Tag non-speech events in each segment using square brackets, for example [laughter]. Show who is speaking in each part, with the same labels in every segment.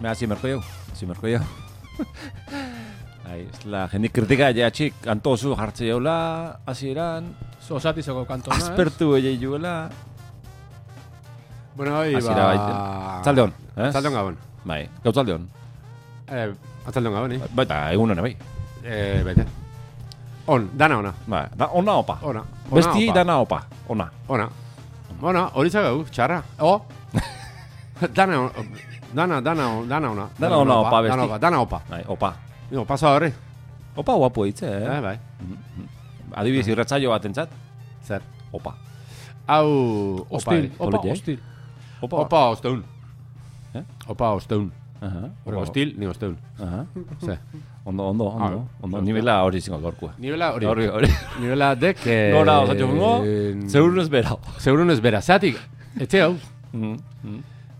Speaker 1: Ba, hasi merko jau, hasi merko [laughs] jau. Ai, ez la, jendik kritika, ja, txik, kanto zu jartze jaula, hasi eran,
Speaker 2: Zosatizoko kantona, ez?
Speaker 1: aspertu egei juela.
Speaker 3: Bueno, hoi,
Speaker 1: Hasi da,
Speaker 3: ba...
Speaker 1: Zaldeon, eh?
Speaker 3: Zaldeon gabon.
Speaker 1: Bai, gau zaldeon.
Speaker 3: Eh, atzaldeon gabon, eh?
Speaker 1: Baita, egun hona, bai.
Speaker 3: Eh, baita. On, dana ona.
Speaker 1: Ba, da, ona opa.
Speaker 3: Ona. ona
Speaker 1: Besti
Speaker 3: opa.
Speaker 1: dana opa, ona.
Speaker 3: Ona. Ona, hori zagau, txarra. O. [laughs] dana, on- dana, dana, on- dana ona.
Speaker 1: Dana ona opa,
Speaker 3: Dana
Speaker 1: besti.
Speaker 3: opa, dana opa.
Speaker 1: Bai, opa.
Speaker 3: Jo, pasa horri.
Speaker 1: Opa guapo hitze,
Speaker 3: Eh,
Speaker 1: eh?
Speaker 3: bai.
Speaker 1: Adibidez, irratzaio bat entzat,
Speaker 3: Zer.
Speaker 1: opa.
Speaker 3: Hau, opa,
Speaker 2: Hostil,
Speaker 3: ere.
Speaker 2: opa,
Speaker 1: Polita, eh?
Speaker 2: hostil.
Speaker 3: opa, osteun.
Speaker 1: Eh?
Speaker 3: Opa, osteun.
Speaker 1: Aha,
Speaker 3: Hore,
Speaker 1: opa.
Speaker 3: hostil, ni osteun.
Speaker 1: Aha.
Speaker 3: Zer.
Speaker 1: Ondo, ondo, ondo.
Speaker 3: Ah,
Speaker 1: Ondo, nivela hori zingo gorkua.
Speaker 3: Nibela hori.
Speaker 1: Hori, hori.
Speaker 3: Nibela dek... Eh,
Speaker 1: Gora, osatxo fungo,
Speaker 3: en-
Speaker 1: zeurun ez berau.
Speaker 3: Zeurun ez bera. Zatik, etxe hau,
Speaker 1: Mm, mm.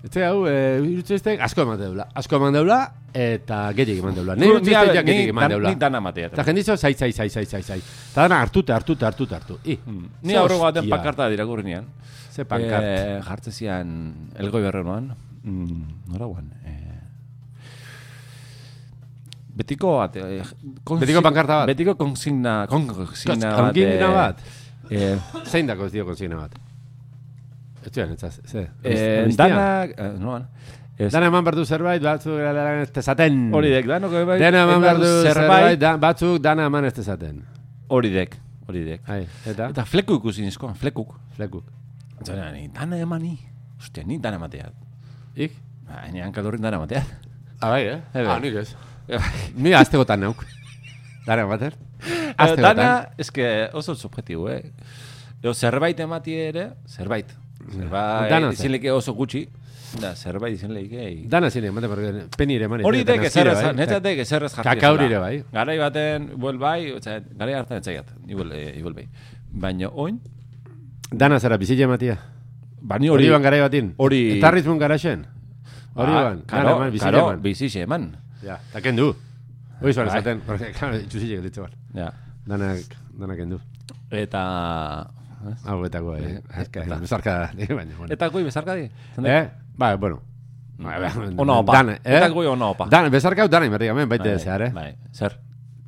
Speaker 3: etxe hau, e, irutzeiztek asko eman deula. Asko eman deula, eta gehiak eman deula.
Speaker 1: Ni-
Speaker 3: Nei irutzeiztek
Speaker 1: ni-
Speaker 3: ja gehiak
Speaker 1: ni-
Speaker 3: eman
Speaker 1: dan-
Speaker 3: deula.
Speaker 1: Ni dana matea.
Speaker 3: Eta jenditzo, zai, zai, zai, zai, zai, zai. Eta dana hartute, hartute, hartute, hartu. I,
Speaker 1: Hmm. Ni
Speaker 3: ze
Speaker 1: aurreko baten
Speaker 3: hostia.
Speaker 1: pankarta dirakurri nian.
Speaker 3: Ze pankart.
Speaker 1: Eh, jartzen zian elgoi berrenoan. Mm, nora guan? Eh, betiko bat. Eh, konsi-
Speaker 3: Betiko pankarta bat.
Speaker 1: Betiko konsigna, konsigna
Speaker 3: Kos-
Speaker 1: bat. eh,
Speaker 3: konsigna bat.
Speaker 1: Eh,
Speaker 3: Zein dako ez dio konsigna bat? Ez duen, ez ze.
Speaker 1: eh,
Speaker 3: Amnistia?
Speaker 1: dana... Eh, noan. Ez,
Speaker 3: Dana eman berdu zerbait, batzuk gara lan ez tezaten.
Speaker 1: hori dek, danok bai.
Speaker 3: Dana
Speaker 1: edan
Speaker 3: eman berdu zerbait, da, batzuk dana eman ez tezaten.
Speaker 1: Hori dek, hori dek.
Speaker 3: Ai, eta,
Speaker 1: Eta fleku ikusi nizkoan, flekuk.
Speaker 3: flekuk.
Speaker 1: Zara, ni dana emani. Ostia, ni dana matea.
Speaker 3: Ik?
Speaker 1: Ba, ni hankalorrin dana matea.
Speaker 3: Abai, eh?
Speaker 1: Ebe.
Speaker 3: Ah, nik ez. Ni aztegotan nauk. Dara bater.
Speaker 1: Eh,
Speaker 3: Aztegotan.
Speaker 1: [laughs]
Speaker 3: Dana...
Speaker 1: Dana, eske oso subjetibo, eh? Eo, zerbait emati ere, zerbait. Zerbait,
Speaker 3: Mm. Dana
Speaker 1: Dana,
Speaker 3: zer.
Speaker 1: izinleke oso gutxi. Da, zerbait izinleke. i-
Speaker 3: Dana zine, mate barri, penire eman.
Speaker 1: Hori dek ezerrez,
Speaker 3: bai.
Speaker 1: netzatek ezerrez jarri.
Speaker 3: Kakaori
Speaker 1: ezela.
Speaker 3: ere bai.
Speaker 1: Garai baten, igual bai, oza, garai hartan etzaiat, igual, eh, igual bai. Baina, oin,
Speaker 3: Dana zara bizile ematia.
Speaker 1: bani
Speaker 3: Hori
Speaker 1: hori...
Speaker 3: ban garai batin.
Speaker 1: hori- Ah,
Speaker 3: Etarriz mun garaxen. Hori ban. Dana
Speaker 1: Karo,
Speaker 3: eman, bizile
Speaker 1: karo,
Speaker 3: eman.
Speaker 1: bizixe eman.
Speaker 3: Ja, eta kendu. Hoi zuan
Speaker 1: Bai.
Speaker 3: esaten. Porque, claro, itxusile gelitze bat.
Speaker 1: Ja.
Speaker 3: Danak, danak kendu.
Speaker 1: Eta...
Speaker 3: Hau betako, eh. Azka, bezarka da. eh, Baina, bueno.
Speaker 1: Eta goi bezarkadi?
Speaker 3: Eh? Bai, bueno. Bai, bai,
Speaker 1: Ona opa.
Speaker 3: Dana, eh?
Speaker 1: Eta goi ona opa.
Speaker 3: Dana, bezarka hau dana imerri, amen, baite zehar, eh?
Speaker 1: Bai, zer.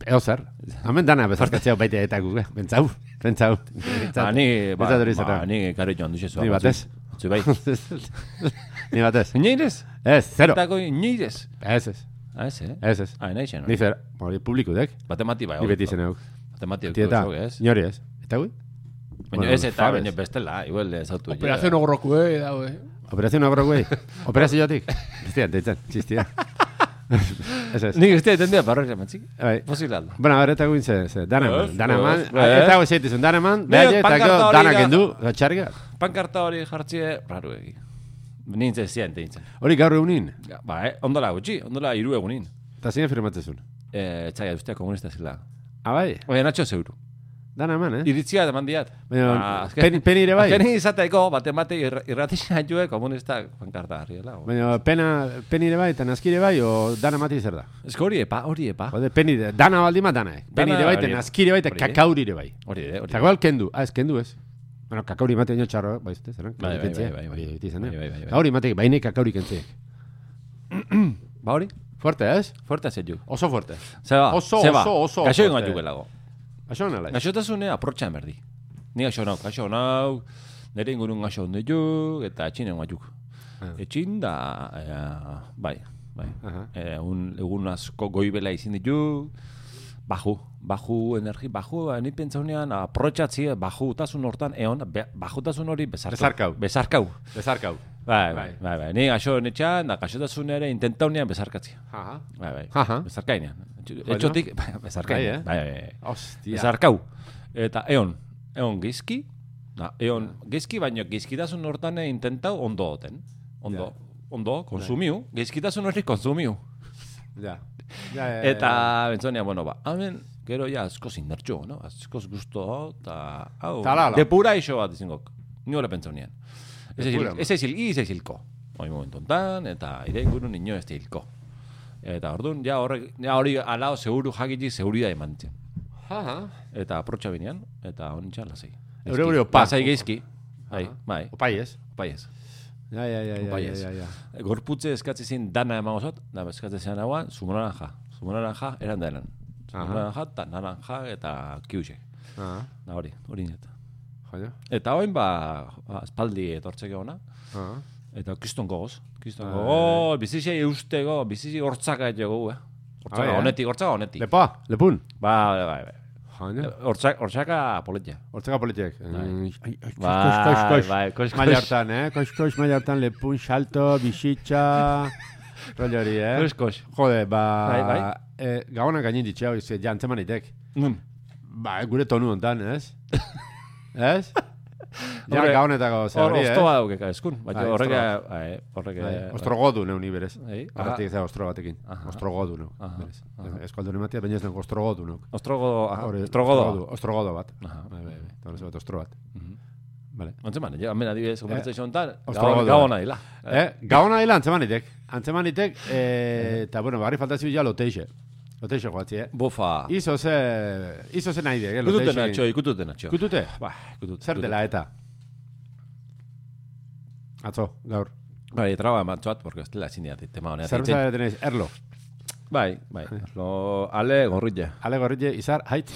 Speaker 3: Eo zer. Hemen dana bezarkatzea baita eta gu, eh? Bentsau, bentsau.
Speaker 1: Ba, ni, ba,
Speaker 3: Bentsatu hori
Speaker 1: ba,
Speaker 3: zara.
Speaker 1: ni karo joan duxe zua.
Speaker 3: Ni batez.
Speaker 1: Zui bai.
Speaker 3: [laughs] Ni batez.
Speaker 1: Neirez?
Speaker 3: Ez, zero.
Speaker 1: Eta goi, neirez.
Speaker 3: Ez, ez.
Speaker 1: Ah, ez, eh?
Speaker 3: Ez, ez.
Speaker 1: Ah, nahi zen,
Speaker 3: Ni zer, hori publikudek.
Speaker 1: Batemati bai.
Speaker 3: Ni beti zen euk.
Speaker 1: Batemati
Speaker 3: Ti eta,
Speaker 1: ez?
Speaker 3: nori ez. Eta gu?
Speaker 1: Baina ez eta, baina bestela, igual ezautu.
Speaker 2: Operazio nogorroku, eh, dau, eh.
Speaker 3: Operazio nabro
Speaker 1: [laughs]
Speaker 3: guei. Operazio jotik. Bestia, deitzen, txistia. Ez, ez.
Speaker 1: Nik ez dira etendea, barro jamantzik.
Speaker 3: Bai.
Speaker 1: Posible aldo.
Speaker 3: Bueno, a ver, eta guin ze, ze, dana
Speaker 1: Ez,
Speaker 3: eman, dana eman,
Speaker 1: ez, ez.
Speaker 3: eta guin zeitizun, dana eman,
Speaker 1: Nire
Speaker 3: behaile, eta
Speaker 1: pankarta
Speaker 3: gero
Speaker 1: hori
Speaker 3: dana
Speaker 1: da-
Speaker 3: kendu, txarga.
Speaker 1: Pankarta hori jartzie, raro egi. Nintzen zian, nintzen.
Speaker 3: Hori gaur egunin,
Speaker 1: Ja, Ba, eh? Ondola gutxi, ondola hiru egunin.
Speaker 3: eta zine firmatzezun.
Speaker 1: Eh, txai, ustea komunista zela.
Speaker 3: Abai,
Speaker 1: Baina, natxo zeuru.
Speaker 3: bai, dana eman, eh?
Speaker 1: Iritzia eman diat.
Speaker 3: Baina,
Speaker 1: Ba,
Speaker 3: pen- peni ere bai.
Speaker 1: Azken izateko, bate mate irratizan jue komunistak pankarta harriela.
Speaker 3: Baina, pena, peni ere bai, eta naskire bai, o dana mati zer da.
Speaker 1: Ez hori epa, hori epa.
Speaker 3: Jode, peni, dana baldima dana, eh. Peni
Speaker 1: Dana
Speaker 3: ere bai, eta
Speaker 1: hori.
Speaker 3: naskire bai, eta
Speaker 1: Hori.
Speaker 3: kakauri ere bai.
Speaker 1: Hori ere, hori
Speaker 3: Eta
Speaker 1: ere.
Speaker 3: gual, kendu, ah, ez kendu ez. Bueno, kakauri maten jo txarro, bai, ez, zeran?
Speaker 1: Bai, bai, bai, bai, bai.
Speaker 3: Hori beti izan da.
Speaker 1: Bai, bai, bai, bai.
Speaker 3: Eta Hori matek, baine kakauri kentzeek.
Speaker 1: Ba hori,
Speaker 3: Fuerte, ez?
Speaker 1: fuerte azet ju.
Speaker 3: Oso fuerte.
Speaker 1: Zeba,
Speaker 3: Oso,
Speaker 1: zeba.
Speaker 3: oso, oso
Speaker 1: Gaxo ingo
Speaker 3: fuerte.
Speaker 1: atuke lago.
Speaker 3: Aixo nala, ez?
Speaker 1: Gaxotasune aprotxan berdi. Ni gaxo nau, gaxo nau, nire ingurun gaxo hondi ju, eta etxin egon atuk.
Speaker 3: Ah.
Speaker 1: Etxin da, eh, bai, bai.
Speaker 3: Aha.
Speaker 1: Eh, un, egun asko goibela izin ditu, baju, baju energi, baju, ba, ni pentsaunean aprotxatzie, eh, bajutasun hortan, eon, be, bajutasun hori bezarkau.
Speaker 3: Bezarkau.
Speaker 1: Bezarkau.
Speaker 3: Bezarkau.
Speaker 1: Bai, bai, bai, bai. Ni gaxo netxan, da gaxotasun ere intentaunean bezarkatzia.
Speaker 3: Aha.
Speaker 1: Bai, bai.
Speaker 3: Aha.
Speaker 1: Bezarkainean.
Speaker 3: Joder.
Speaker 1: Etxotik, [laughs] bai, bezarkainean.
Speaker 3: Bai,
Speaker 1: Bai, bai, bai.
Speaker 3: Ostia.
Speaker 1: Bezarkau. Eta eon, eon gizki, da, eon gizki, baino gizkitasun hortan intentau ondo oten. Ondo, ondo, konsumiu, gizkitasun hori konsumiu.
Speaker 3: Ja. Ja, ja,
Speaker 1: Eta, bentsonia, bueno, ba, hamen, gero ja askoz indartxo, no? Askoz gusto, eta, hau,
Speaker 3: Ta lala.
Speaker 1: depura iso bat izingok. Ni hori pentsonian. Ez ezil,
Speaker 3: Depura, ma.
Speaker 1: ez ezil, iz ezilko. Hoi momentu enten, eta ire inguru nino ez hilko. Eta orduan, ja horrek, ja hori alao seguru jakitik segurida emantzen.
Speaker 3: Aha.
Speaker 1: Eta aprotxa binean, eta honitxan lasai.
Speaker 3: Eure eure opa.
Speaker 1: Lasai geizki. Bai, bai,
Speaker 3: Opai ez.
Speaker 1: bai ez.
Speaker 3: Ja, ja, ja, ja, ja,
Speaker 1: Baietz.
Speaker 3: ja, ja.
Speaker 1: Gorputze eskatzi zin dana eman osot, da eskatzi zin haua, zumo naranja. Zumo naranja, eran da eran. Zumo
Speaker 3: Aha.
Speaker 1: naranja, eta naranja, eta kiuxe.
Speaker 3: Ah,
Speaker 1: Da hori, hori neta.
Speaker 3: joder.
Speaker 1: Eta hoin ba, espaldi etortzeke ona,
Speaker 3: Ah.
Speaker 1: eta kiston gogoz. Kiston gogoz, bizitxe eustego, bizitxe hortzaka etxego, eh? Hortzaka
Speaker 3: Ah, ja.
Speaker 1: honetik, hortzaka honetik.
Speaker 3: Lepoa, lepun.
Speaker 1: Ba, ba, ba, ba.
Speaker 3: Joder.
Speaker 1: Hortzaka, hortzaka politia.
Speaker 3: Hortzaka politiek. Ai, ai, Mm. ai,
Speaker 1: Bai, bai, koix, koix.
Speaker 3: Maila hartan, eh? Koix, koix, maila hartan, lepun, salto, [laughs] bisitxa... Rollo hori, eh?
Speaker 1: Koix, koix.
Speaker 3: Jode, ba...
Speaker 1: Bai, bai.
Speaker 3: Eh, gabonak gainin ditxe, hau, ze, ja, antzeman itek.
Speaker 1: Nun.
Speaker 3: Ba, gure tonu hontan, [laughs] ez? ez? Ja,
Speaker 1: Hombre,
Speaker 3: gabonetako, ze
Speaker 1: Hor,
Speaker 3: hori, eh?
Speaker 1: oztoa daukeka eskun. Baina
Speaker 3: Bai,
Speaker 1: horrek,
Speaker 3: oztoa.
Speaker 1: ai, horrek... eh, bai, ah,
Speaker 3: Bai, Ostrogodu neun iberez.
Speaker 1: Ei, aha.
Speaker 3: Arratik ez da ostro batekin. Ostrogodu neun. berez. Eskualdun ematea, baina ez neun ostrogodu neun.
Speaker 1: Ostrogo, aha,
Speaker 3: Hori,
Speaker 1: ostrogodo.
Speaker 3: Ostrogodo bat.
Speaker 1: Aha.
Speaker 3: Bai, bai, Mhm. bai. Eta hori bat, ostro bat. Vale.
Speaker 1: Antzeman, ja, hemen adibidez, konvertsazio honetan,
Speaker 3: Eh, ostrogodoa.
Speaker 1: gabon- gabona dila.
Speaker 3: Eh, gaona dela antzemanitek. Antzemanitek, eh, eta bueno, barri falta zibila loteixe. Loteixe joatzi, eh?
Speaker 1: Bofa.
Speaker 3: Izo ze, izo ze nahi dek, eh,
Speaker 1: Ikututen atxo,
Speaker 3: loteixe.
Speaker 1: ikututen atxo.
Speaker 3: Kutute?
Speaker 1: Ba, ikutut.
Speaker 3: Zer
Speaker 1: ikutut.
Speaker 3: dela eta? Atzo, gaur.
Speaker 1: Bai, traba eman txoat, porque ez dela ezin diat, tema honetan.
Speaker 3: Zerbeza denez, erlo.
Speaker 1: Bai, bai. Lo, ale, gorrilla.
Speaker 3: Ale gorritxe, izar, haitz,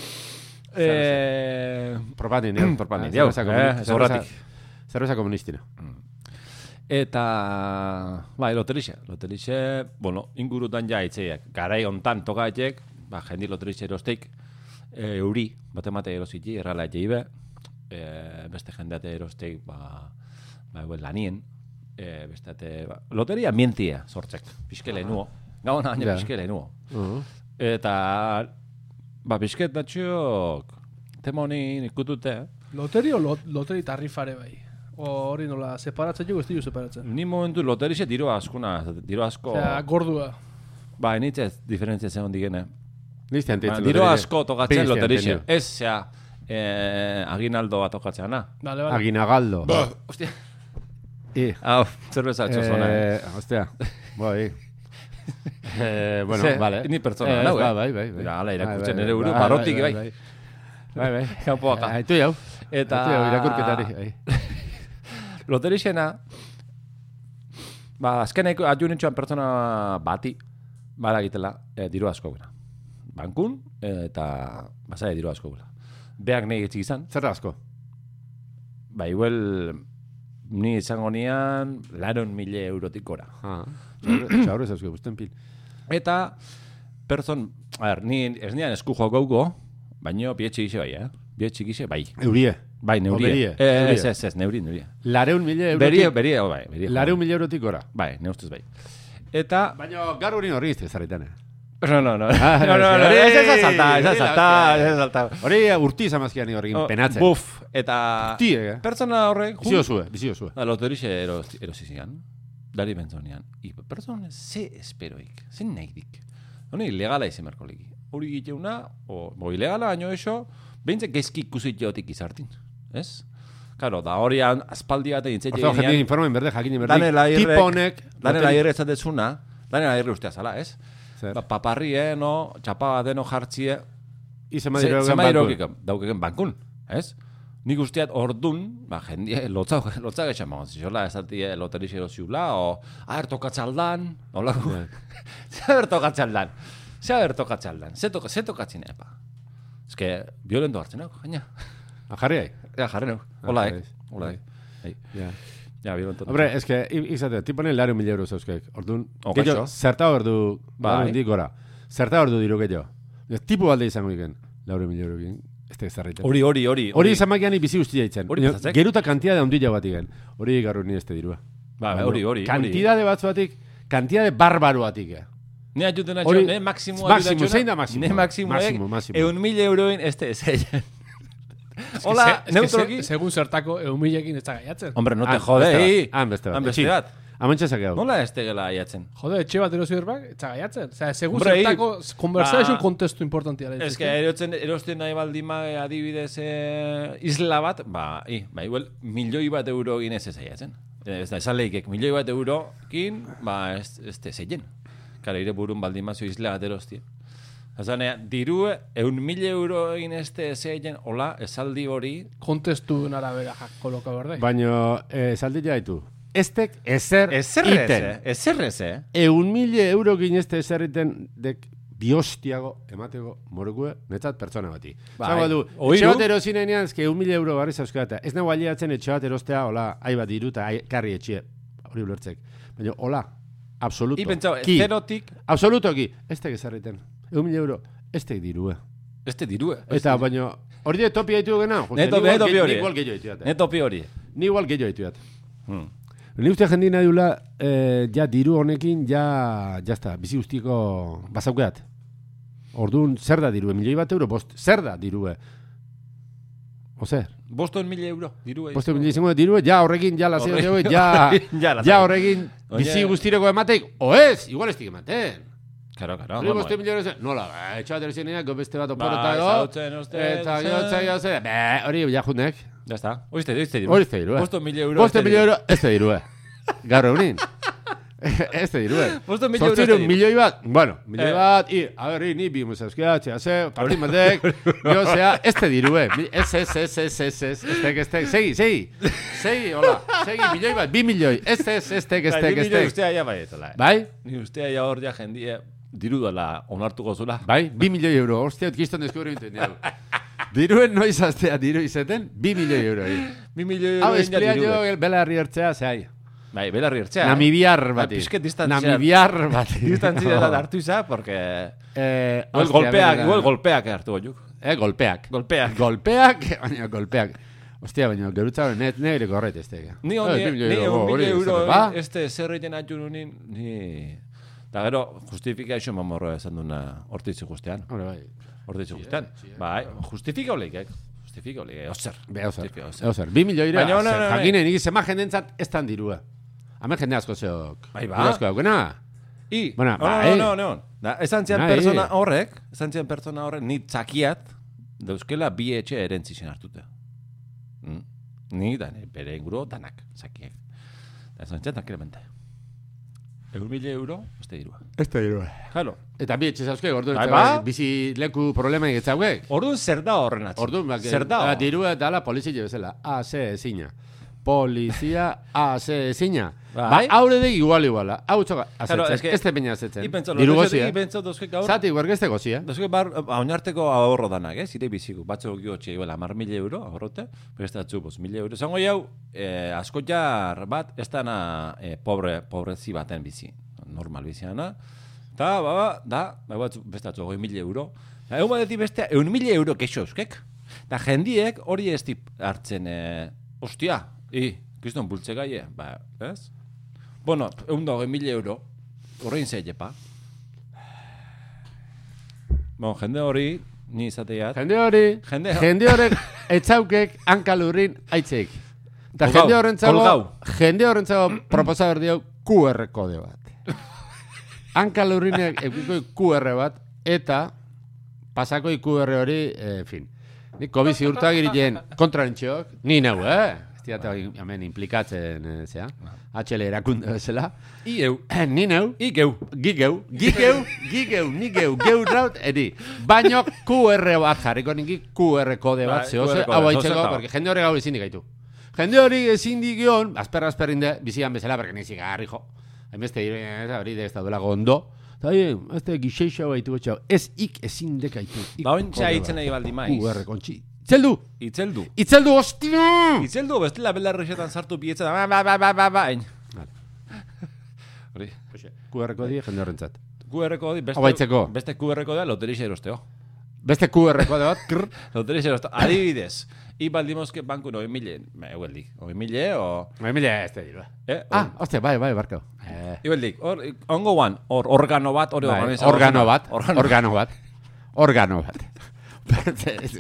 Speaker 1: Eh,
Speaker 3: [clears throat] propanin, eh?
Speaker 1: Propanin,
Speaker 3: Ah, zerbeza
Speaker 1: jau,
Speaker 3: komuni-
Speaker 1: eh,
Speaker 3: zerbeza-
Speaker 1: zorratik.
Speaker 3: Zerbeza komunistina.
Speaker 1: eta, bai, loterixe. Loterixe, bueno, ingurutan ja itzeiak. Garai hontan tokaitek, ba, jendi loterixe erosteik, eh, euri, bat emate erositi, errala etxeibe, eh, beste jendeate erosteik, ba, ba, euen lanien, eh, beste ate, ba, loteria mientia sortzek, pixkele nuo. Gauna baina
Speaker 3: Ja.
Speaker 1: pixkele nuo. Eta, ba, bizket datxok, tema honi ikutute,
Speaker 2: Loteri o lot, loteri tarrifare bai. O hori nola, separatzen jugu, ez dugu separatzen.
Speaker 1: ni momentu loterixe diro askuna, diro asko,
Speaker 2: Osea, gordua.
Speaker 1: ba, enitzez diferentzia zeon digene.
Speaker 3: Niztian
Speaker 1: Ba,
Speaker 3: titzen.
Speaker 1: diro asko tokatzen loterixe, ez, zea, eh, aginaldo bat tokatzen, na?
Speaker 2: Vale, vale.
Speaker 3: Aginagaldo.
Speaker 1: Ostia,
Speaker 3: I.
Speaker 1: hau, zerbeza atxo zona.
Speaker 3: Eh, hostia. Bai. [laughs] eh, bueno,
Speaker 1: Ze,
Speaker 3: vale.
Speaker 1: ni pertsona nau, eh?
Speaker 3: ba, bai, bai, bai.
Speaker 1: Mira, hala,
Speaker 3: Bai,
Speaker 1: irakurtzen
Speaker 3: bai,
Speaker 1: nere buru,
Speaker 3: bai,
Speaker 1: barrotik, bai.
Speaker 3: Bai, bai.
Speaker 1: Kanpoaka.
Speaker 3: Aitu jau.
Speaker 1: Eta-
Speaker 3: Aitu jau, irakurketari. bai.
Speaker 1: Loterixena, ba, azkeneko adjunitxoan pertsona bati, bala egitela, eh, diru asko gula. Bankun, eh, eta bazai diru asko gula. Beak nahi etxik izan,
Speaker 3: Zer asko?
Speaker 1: ba, igual, ni izango nian, laron mile eurotik gora.
Speaker 3: Ah. Txaur ez eusko guztien pil.
Speaker 1: Eta, person, a ber, ni ez nian esku joko gauko, baino bietxe gize bai, eh? Bietxe gize bai.
Speaker 3: Eurie.
Speaker 1: Bai, neurie.
Speaker 3: O berie,
Speaker 1: Eh, ez,
Speaker 3: eurie.
Speaker 1: ez, ez, neuri, neurie.
Speaker 3: Lareun mila eurotik.
Speaker 1: Berie, berie, oh, bai, berie.
Speaker 3: Lareun mila eurotik gora.
Speaker 1: Bai, neustuz bai. Eta,
Speaker 3: Baina gaur hori hori izte zaretan. eh?
Speaker 1: No, no, no.
Speaker 3: Ah,
Speaker 1: no, no, no,
Speaker 3: hori,
Speaker 1: Ez ez azalta, ez
Speaker 3: hori la
Speaker 1: azalta,
Speaker 3: hostia,
Speaker 1: ez
Speaker 3: eh.
Speaker 1: azalta.
Speaker 3: Hori urti izan bazkian hori penatzen. Oh, Buf.
Speaker 1: Buf, eta...
Speaker 3: Ti, eh?
Speaker 1: Pertsona horrek...
Speaker 3: Bizio zue, bizio zue.
Speaker 1: Da, loterixe eros- erosi zian. Dari bentzonean. I pertsona ze esperoik, ze nahi dik. Honi, legala izan beharko legi. Hori giteuna, o, bo, ilegala baino eso, behintzak gezki ikusi jotik izartin. Ez? Claro, da hori an- aspaldi bat egin
Speaker 3: Oso, jendien
Speaker 1: zetxe
Speaker 3: informen berde, jakin berdik.
Speaker 1: Daniel Airrek,
Speaker 3: Tipo honek.
Speaker 1: Daniel Airre ez dezuna, Daniel Airre ustea zala, ez?
Speaker 3: Zer.
Speaker 1: Ba, paparrie, no, txapa bateno jartzie, Ze-
Speaker 3: Izen badiro
Speaker 1: zenbait
Speaker 3: bankun.
Speaker 1: daukeken- daukeken bankun, ez? Nik usteat ordun, ba, jendie, [laughs] lotza, lotza getxan magon zizola, ez dati eh, loteriz erosiula, o, aher tokatzaldan, nolako,
Speaker 3: Bai.
Speaker 1: [laughs] ze aher tokatzaldan, ze aher tokatzaldan, ze, toka, ze tokatzen epa. Ez que, violento hartzen nago, gaina.
Speaker 3: Ah, Jarri ahi.
Speaker 1: Ja, jarren nago, hola,
Speaker 3: Ah,
Speaker 1: eh,
Speaker 3: ez.
Speaker 1: hola, eh. Ei,
Speaker 3: Ja.
Speaker 1: Ja, violento.
Speaker 3: Hombre, ez que, i- izate, tiponen laro mila euro zeuskek. Orduan,
Speaker 1: O,
Speaker 3: gehiago,
Speaker 1: gaixo.
Speaker 3: zerta hor du,
Speaker 1: Bai.
Speaker 3: bai. gora. Zerta hor du diru gehiago. Ez Tipu alde izango iken, lauro mila euro iken. Ez da ezarreiten. Hori,
Speaker 1: Hori, hori, hori.
Speaker 3: hori izan bakian bizi guztia itzen.
Speaker 1: Hori
Speaker 3: Baina,
Speaker 1: pasatzek.
Speaker 3: Geruta kantidade handia bat iken. Hori gaur ni este dirua.
Speaker 1: Ba, ba, hori, hori. hori.
Speaker 3: Kantidade batzuatik, kantidade barbaruatik. eh.
Speaker 1: Ne ayuten atxo,
Speaker 3: Hori-
Speaker 1: ne maksimoa
Speaker 3: Maximo,
Speaker 1: ayuten atxo.
Speaker 3: zein da maximo?
Speaker 1: Ne maksimoek,
Speaker 3: Maximo, maximo.
Speaker 1: eh. eun mil euroen ez ez
Speaker 3: [laughs]
Speaker 1: Hola,
Speaker 2: Ze-
Speaker 1: neutroki.
Speaker 2: ze- Segun zertako, eumilekin ez da gaiatzen.
Speaker 1: Hombre, no te
Speaker 3: Han, beste bat,
Speaker 1: jode, eh.
Speaker 3: Han beste bat.
Speaker 1: Han Ah, beste
Speaker 3: Etxin.
Speaker 1: bat.
Speaker 3: Amontxe zakeu.
Speaker 1: Nola ez tegela aiatzen?
Speaker 2: Jode, etxe bat erosi berbak, ez da gaiatzen. Osea, segun
Speaker 1: Hombre,
Speaker 2: zertako, conversation
Speaker 1: ba-
Speaker 2: kontestu importantia.
Speaker 1: Ez que erotzen, erosten nahi baldima adibidez eh, isla bat, ba, i, ba, igual, milioi bat euro egin ez ez aiatzen. Eh, Ez da, esan lehikek, milioi bat eurokin, ba, ez, ez te zeien. Kara, ire burun baldima zu isla bat erostia. Azanea, diru eun mil euro egin ez te zeien, hola, esaldi hori,
Speaker 3: Bai.
Speaker 2: kontestu narabera jak koloka berde.
Speaker 3: Baina, eh, zaldi jaitu. eztek ezer
Speaker 1: Ezer
Speaker 3: iten.
Speaker 1: ez, ezer ez, eh?
Speaker 3: Eun mila euro ginezte ezerriten dek biostiago emateko morgue netzat pertsona bati.
Speaker 1: Bai.
Speaker 3: Bai. Zago du,
Speaker 1: Oiru.
Speaker 3: etxe bat erozin enean, ezke eun mila euro barri zauzkata. Ez nago aliatzen etxe bat erostea, hola, hai bat diru eta ai- karri etxie. Hori ulertzek. Baina, hola, absoluto.
Speaker 1: I pentsau,
Speaker 3: ki,
Speaker 1: zerotik,
Speaker 3: absolutoki, ez tek ezerriten. Eun mila euro, ez tek dirue.
Speaker 1: este dirue.
Speaker 3: Eta, baina, hori de topi haitu gena?
Speaker 1: Neto- neto bi hori.
Speaker 3: Ni igual gehiago haitu dut.
Speaker 1: Neto hori.
Speaker 3: Ni igual gehiago haitu dut.
Speaker 1: Hmm.
Speaker 3: Ni uste jendin nahi dula, eh, ja diru honekin, ja, jazta, bizi guztiko bazaukeat. Orduan, zer da dirue? Milioi bat euro, bost, zer da dirue? Ozer,
Speaker 1: Boston mila euro, dirue.
Speaker 3: boste milioi izango da dirue, ja horrekin, ja lazio,
Speaker 1: Horre-
Speaker 3: ja,
Speaker 1: horrekin, [laughs] ja lasai.
Speaker 3: ja horrekin, bizi
Speaker 1: Oie.
Speaker 3: guztireko emateik, oez, igual ez dik ematen.
Speaker 1: Karo, karo.
Speaker 3: Hori
Speaker 1: vamos,
Speaker 3: boste
Speaker 1: eh.
Speaker 3: milioi euro, nola, ba, etxat erosinea, beste bat
Speaker 1: Ba,
Speaker 3: oporotago,
Speaker 1: ezautzen uste,
Speaker 3: eta
Speaker 1: zen.
Speaker 3: gero, eta gero, zer, be, hori, ja junek.
Speaker 1: Ya está. Oizte, oizte dirue.
Speaker 3: Hori ez da dirue.
Speaker 1: Boston mila euro.
Speaker 3: Boste
Speaker 1: este
Speaker 3: milioi
Speaker 1: dirue.
Speaker 3: euro, ez da dirue. Gaur
Speaker 1: [laughs]
Speaker 3: egunin. ez da dirue.
Speaker 1: Boste milioi euro.
Speaker 3: Zortzireun
Speaker 1: este dirue.
Speaker 3: milioi bat, bueno, milioi
Speaker 1: Eh.
Speaker 3: bat, i, a ber, i, ni bi musauzkea, txea, ze, partin
Speaker 1: [laughs]
Speaker 3: batek, jo, zea, ez te dirue, Mi- ez, ez, ez, ez, ez, ez, ez tek, ez tek, segi, segi, segi, hola, segi, milioi bat, bi milioi, ez, ez, ez tek, ez
Speaker 1: Bai,
Speaker 3: tek,
Speaker 1: ni
Speaker 3: ez
Speaker 1: milioi
Speaker 3: tek,
Speaker 1: ustea ja bai etala. eh.
Speaker 3: bai,
Speaker 1: Ni ustea ja hor ja jendie diru dela onartuko zula.
Speaker 3: bai, bi milioi euro, ostia, kiston deskubre bintu, diruen noiz aztea diru izeten, bi milioi euro,
Speaker 1: Mi milioi euro
Speaker 3: hau,
Speaker 1: egin ja
Speaker 3: esplia
Speaker 1: dirue.
Speaker 3: jo, bela herri hartzea, zehai,
Speaker 1: Bai, belarri ertzea.
Speaker 3: Namibiar bati.
Speaker 1: pixket eh, distantzia-
Speaker 3: Namibiar bati. [laughs]
Speaker 1: Distantzia da hartu iza, porque...
Speaker 3: Eh,
Speaker 1: Igual
Speaker 3: Austria,
Speaker 1: golpeak,
Speaker 3: Belgia.
Speaker 1: igual golpeak hartu goiuk.
Speaker 3: Eh, golpeak.
Speaker 1: Golpeak.
Speaker 3: Golpeak, [laughs] baina golpeak. Hostia, baina gerutza hori net negre korret ez tega.
Speaker 1: Ni
Speaker 3: Eh,
Speaker 1: honi,
Speaker 3: bi milioi
Speaker 1: ni
Speaker 3: euro,
Speaker 1: un bile
Speaker 3: hori ez
Speaker 1: euro, e-
Speaker 3: da, ba?
Speaker 1: este zerreiten atxun unin, ni... Da gero, justifikazio mamorroa esan duna hortitzu guztean.
Speaker 3: Hombre, bai.
Speaker 1: Hortitzu guztean. Bai, justifika holik, eh? Justifika holik, eh? Ozer.
Speaker 3: Be, ozer.
Speaker 1: Justifika, ozer.
Speaker 3: Eozer. Bi milioi ira.
Speaker 1: Baina, no, no, no,
Speaker 3: Jakinen, nik izema jendentzat ez tan dirua. Hame jende asko zeok.
Speaker 1: Bai, ba.
Speaker 3: Diru Asko daukena.
Speaker 1: I,
Speaker 3: Bueno,
Speaker 1: no, no,
Speaker 3: bai.
Speaker 1: no, no, Da, esan zian
Speaker 3: Nahi.
Speaker 1: persona horrek, esan zian persona horrek, ni txakiat, dauzkela bi etxe erentzizen hartute. Mm. Ni, da, ni bere inguru, danak, txakiak. Da, esan zian, tranquilamente. Egun mila euro, uste dirua.
Speaker 3: Ez da dirua.
Speaker 1: Jalo,
Speaker 3: Eta bi etxe zauzke, ordu
Speaker 1: Bai, ba.
Speaker 3: bizi leku problema egitzauek.
Speaker 1: orduan zer da horren atzik?
Speaker 3: Ordu, bak,
Speaker 1: zer da?
Speaker 3: ah,
Speaker 1: hor?
Speaker 3: dirua eta la polizia bezala. Aze ezina. Polizia, aze ezina.
Speaker 1: Bai.
Speaker 3: Ba, haure de igual iguala. Hau txoka, azetzen,
Speaker 1: Claro, es que-
Speaker 3: ez te peña azetzen.
Speaker 1: I pentsa,
Speaker 3: Diru
Speaker 1: lortu-
Speaker 3: gozi, eh?
Speaker 1: i pentsa dauzke gaur,
Speaker 3: Zati, guergezte gozi, eh?
Speaker 1: dauzke bar, haunarteko ahorro danak, eh? Zire biziku, batzu gio txegi, bela, mar mila euro, ahorrote, beste atzu, bos mila euro. Zango jau, eh, asko jar bat, ez dana eh, pobre, pobrezi baten bizi, normal biziana. Ta, ba, ba, da, ba, batzu, beste atzu, goi mila euro. Da, egun batetik beste, egun mila euro kexo euskek. Da, jendiek hori ez dip hartzen, eh, ostia, i, kriston bultzegaie, ba, ez? Bueno, egun da, goi mila euro, horrein zei jepa. Bon, jende hori, ni izateat.
Speaker 3: Jende hori,
Speaker 1: Jende-
Speaker 3: jende horrek, etzaukek, hankalurrin, aitzeik. Eta
Speaker 1: Kolgau,
Speaker 3: jende horren zago,
Speaker 1: kolgau.
Speaker 3: jende horren zago, proposaber dio, QR kode bat. Hankalurrinek eukiko QR bat, eta pasako QR hori, eh, en fin. Ni COVID ziurtagirien kontrarentxeok, ni neu, eh? Ez diate hori hemen implikatzen, eh, zea, HL erakunde bezala.
Speaker 1: I eu,
Speaker 3: [clears throat] Ni neu,
Speaker 1: i geu.
Speaker 3: Gigeu, gigeu, gigeu, nigeu, geu raut, edi. Baino QR bat jarriko ninki QR kode bat,
Speaker 1: Bai,
Speaker 3: zeo ze,
Speaker 1: QR kode,
Speaker 3: hau
Speaker 1: zozer
Speaker 3: haitzeko,
Speaker 1: dago.
Speaker 3: porque jende hori gau ezin gaitu. Jende hori ezin digion, asper asperinde, bizian bezala, porque nizik garri jo. Hainbeste dire, ez hori de ez da duela gondo. Eta eh, hori, ez da gixeixo gaitu gotxau. Ez ik ezin dekaitu. Ik
Speaker 1: Ba, ontsa
Speaker 3: kode
Speaker 1: hitzen
Speaker 3: bat.
Speaker 1: nahi baldi maiz.
Speaker 3: QR kontxi. Itzeldu!
Speaker 1: Itzeldu.
Speaker 3: Itzeldu, ostia!
Speaker 1: Itzeldu, bestela belarrexetan sartu bietza da, ba, ba, ba, ba, ba, hain.
Speaker 3: Vale.
Speaker 1: Hori.
Speaker 3: QR kodea jende horrentzat.
Speaker 1: QR kodi, beste,
Speaker 3: Abaitzeko.
Speaker 1: beste QR kodea loterixe erosteo.
Speaker 3: Beste QR kode bat, krr,
Speaker 1: Loterixe erosteo. Adibidez, i baldimozke banku noi mile, egueldik, oi mile, eh, o...
Speaker 3: Maimilea Bai, ez da dirua.
Speaker 1: Eh,
Speaker 3: Ah, ostia, bai, bai, barkau. Eh.
Speaker 1: Ibeldik, hor, ongo guan, hor organo bat, hori
Speaker 3: Bai,
Speaker 1: organizatu
Speaker 3: organo
Speaker 1: zena.
Speaker 3: bat,
Speaker 1: Organo,
Speaker 3: organo bat, organo bat. [laughs]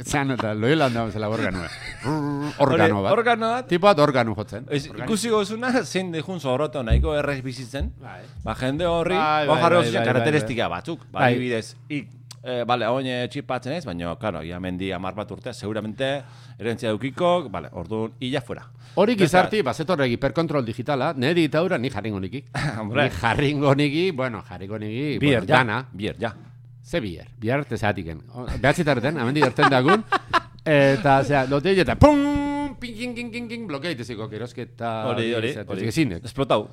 Speaker 3: Zan eta loela handan bezala organo bat. Brrr, Organo
Speaker 1: Hori,
Speaker 3: bat.
Speaker 1: organo bat.
Speaker 3: Tipo bat organo jotzen.
Speaker 1: Ez,
Speaker 3: Organo.
Speaker 1: ikusi gozuna, zein dejun zorroto nahiko errez bizitzen.
Speaker 3: Bai.
Speaker 1: Ba, jende horri,
Speaker 3: Bai, bai,
Speaker 1: bajarro
Speaker 3: bai,
Speaker 1: bai,
Speaker 3: bai, bai,
Speaker 1: karakteristika batzuk. Ba,
Speaker 3: Bai.
Speaker 1: adibidez, ik, eh, bale, oin eh, txipatzen ez, baina, claro, ia mendi amar bat urte, seguramente, herentzia dukiko, bale, orduan, illa fuera.
Speaker 3: Hori gizarti, ba, bazetorrek hiperkontrol digitala, nire ditaura ni jarringo niki.
Speaker 1: Hombre.
Speaker 3: ni jarringo niki, bueno, jarringo niki, bueno,
Speaker 1: ja.
Speaker 3: dana.
Speaker 1: Bier, ja.
Speaker 3: Ze bier,
Speaker 1: [laughs]
Speaker 3: bier arte zehatiken. Behatzi tarten, amendi erten dagun. Eta, zera, lote eta pum, ping, ping, ping, ping, ping, blokea iteziko, erosketa...
Speaker 1: Hori, hori, hori.
Speaker 3: Ezin dek,
Speaker 1: Esplotau.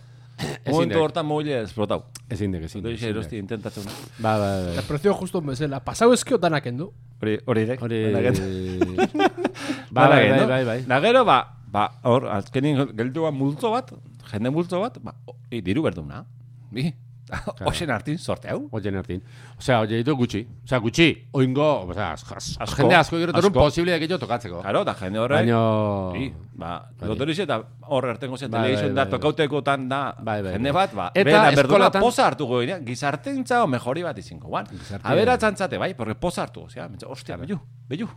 Speaker 1: Momentu hortan mobile esplotau.
Speaker 3: ezin dek, ezin dek,
Speaker 1: Loteria
Speaker 3: ezin
Speaker 1: erosti
Speaker 3: dek.
Speaker 1: intentatzen.
Speaker 3: Ba, ba, ba.
Speaker 1: [laughs]
Speaker 2: Eta prezio justo bezala. Pasau ezkio danak endu.
Speaker 1: Hori, hori dek.
Speaker 3: Hori...
Speaker 1: Aldaket.
Speaker 3: [laughs] Ba, bai,
Speaker 1: Aldaket,
Speaker 3: bai,
Speaker 1: no?
Speaker 3: bai, bai.
Speaker 1: Da gero, ba, ba, hor, azkenin geldua multzo bat, jende multzo bat, ba, o- e, diru berduna. Bi, [laughs] hoxen hartin sorteau.
Speaker 3: Oien hartin. Osea, oie ditu gutxi. Osea, gutxi. Oingo, osea, asko, asko,
Speaker 1: Asko.
Speaker 3: jende asko gero torun
Speaker 1: Asko.
Speaker 3: posible gehiago tokatzeko.
Speaker 1: Claro, da jende horrek.
Speaker 3: Baina...
Speaker 1: Bi, ba, loterixe eta hor ertengo zen
Speaker 3: Oh. Bai,
Speaker 1: television
Speaker 3: bai,
Speaker 1: da
Speaker 3: bai, bai.
Speaker 1: tokautekotan da
Speaker 3: Bai, bai,
Speaker 1: jende
Speaker 3: bai.
Speaker 1: bat, ba,
Speaker 3: Eta
Speaker 1: eta berdura
Speaker 3: eskolatan-
Speaker 1: poza hartu goina, gizartentza o mejori bat izinko, guan.
Speaker 3: Gizarte-
Speaker 1: Abera txantzate, bai, porque poza hartu, osea, mentxe, ostia, bellu, bellu.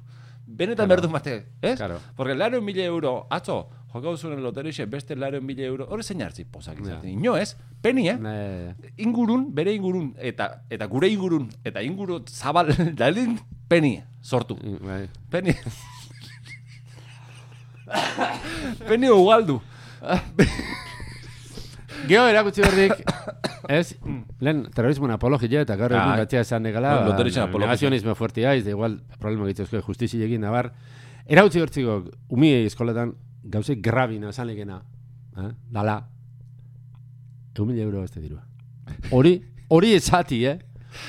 Speaker 1: Benetan berdun bate, ez?
Speaker 3: Claro.
Speaker 1: Porque laro mila euro, atzo, jokau zuen loterixe beste laro mila euro, hori zein hartzi pozak izaten. Ino ez, peni, eh? Ingurun, bere ingurun, eta, eta gure ingurun, eta inguru zabal, [laughs] dalin, peni, sortu.
Speaker 3: bai.
Speaker 1: Peni. Peni ugaldu.
Speaker 3: Geo erakutsi berdik, [coughs] ez, lehen terrorismoen apologia eta gaur egun
Speaker 1: Ah,
Speaker 3: batia esan negala,
Speaker 1: no, loteritzen apologia.
Speaker 3: negazionismo fuertiaiz, da igual, problema egitezko justizi egin nabar, erakutsi bertziko, umiei eskoletan, gauze grabina esan legena, eh? dala, egun mila euro beste dirua. Hori, hori esati, eh?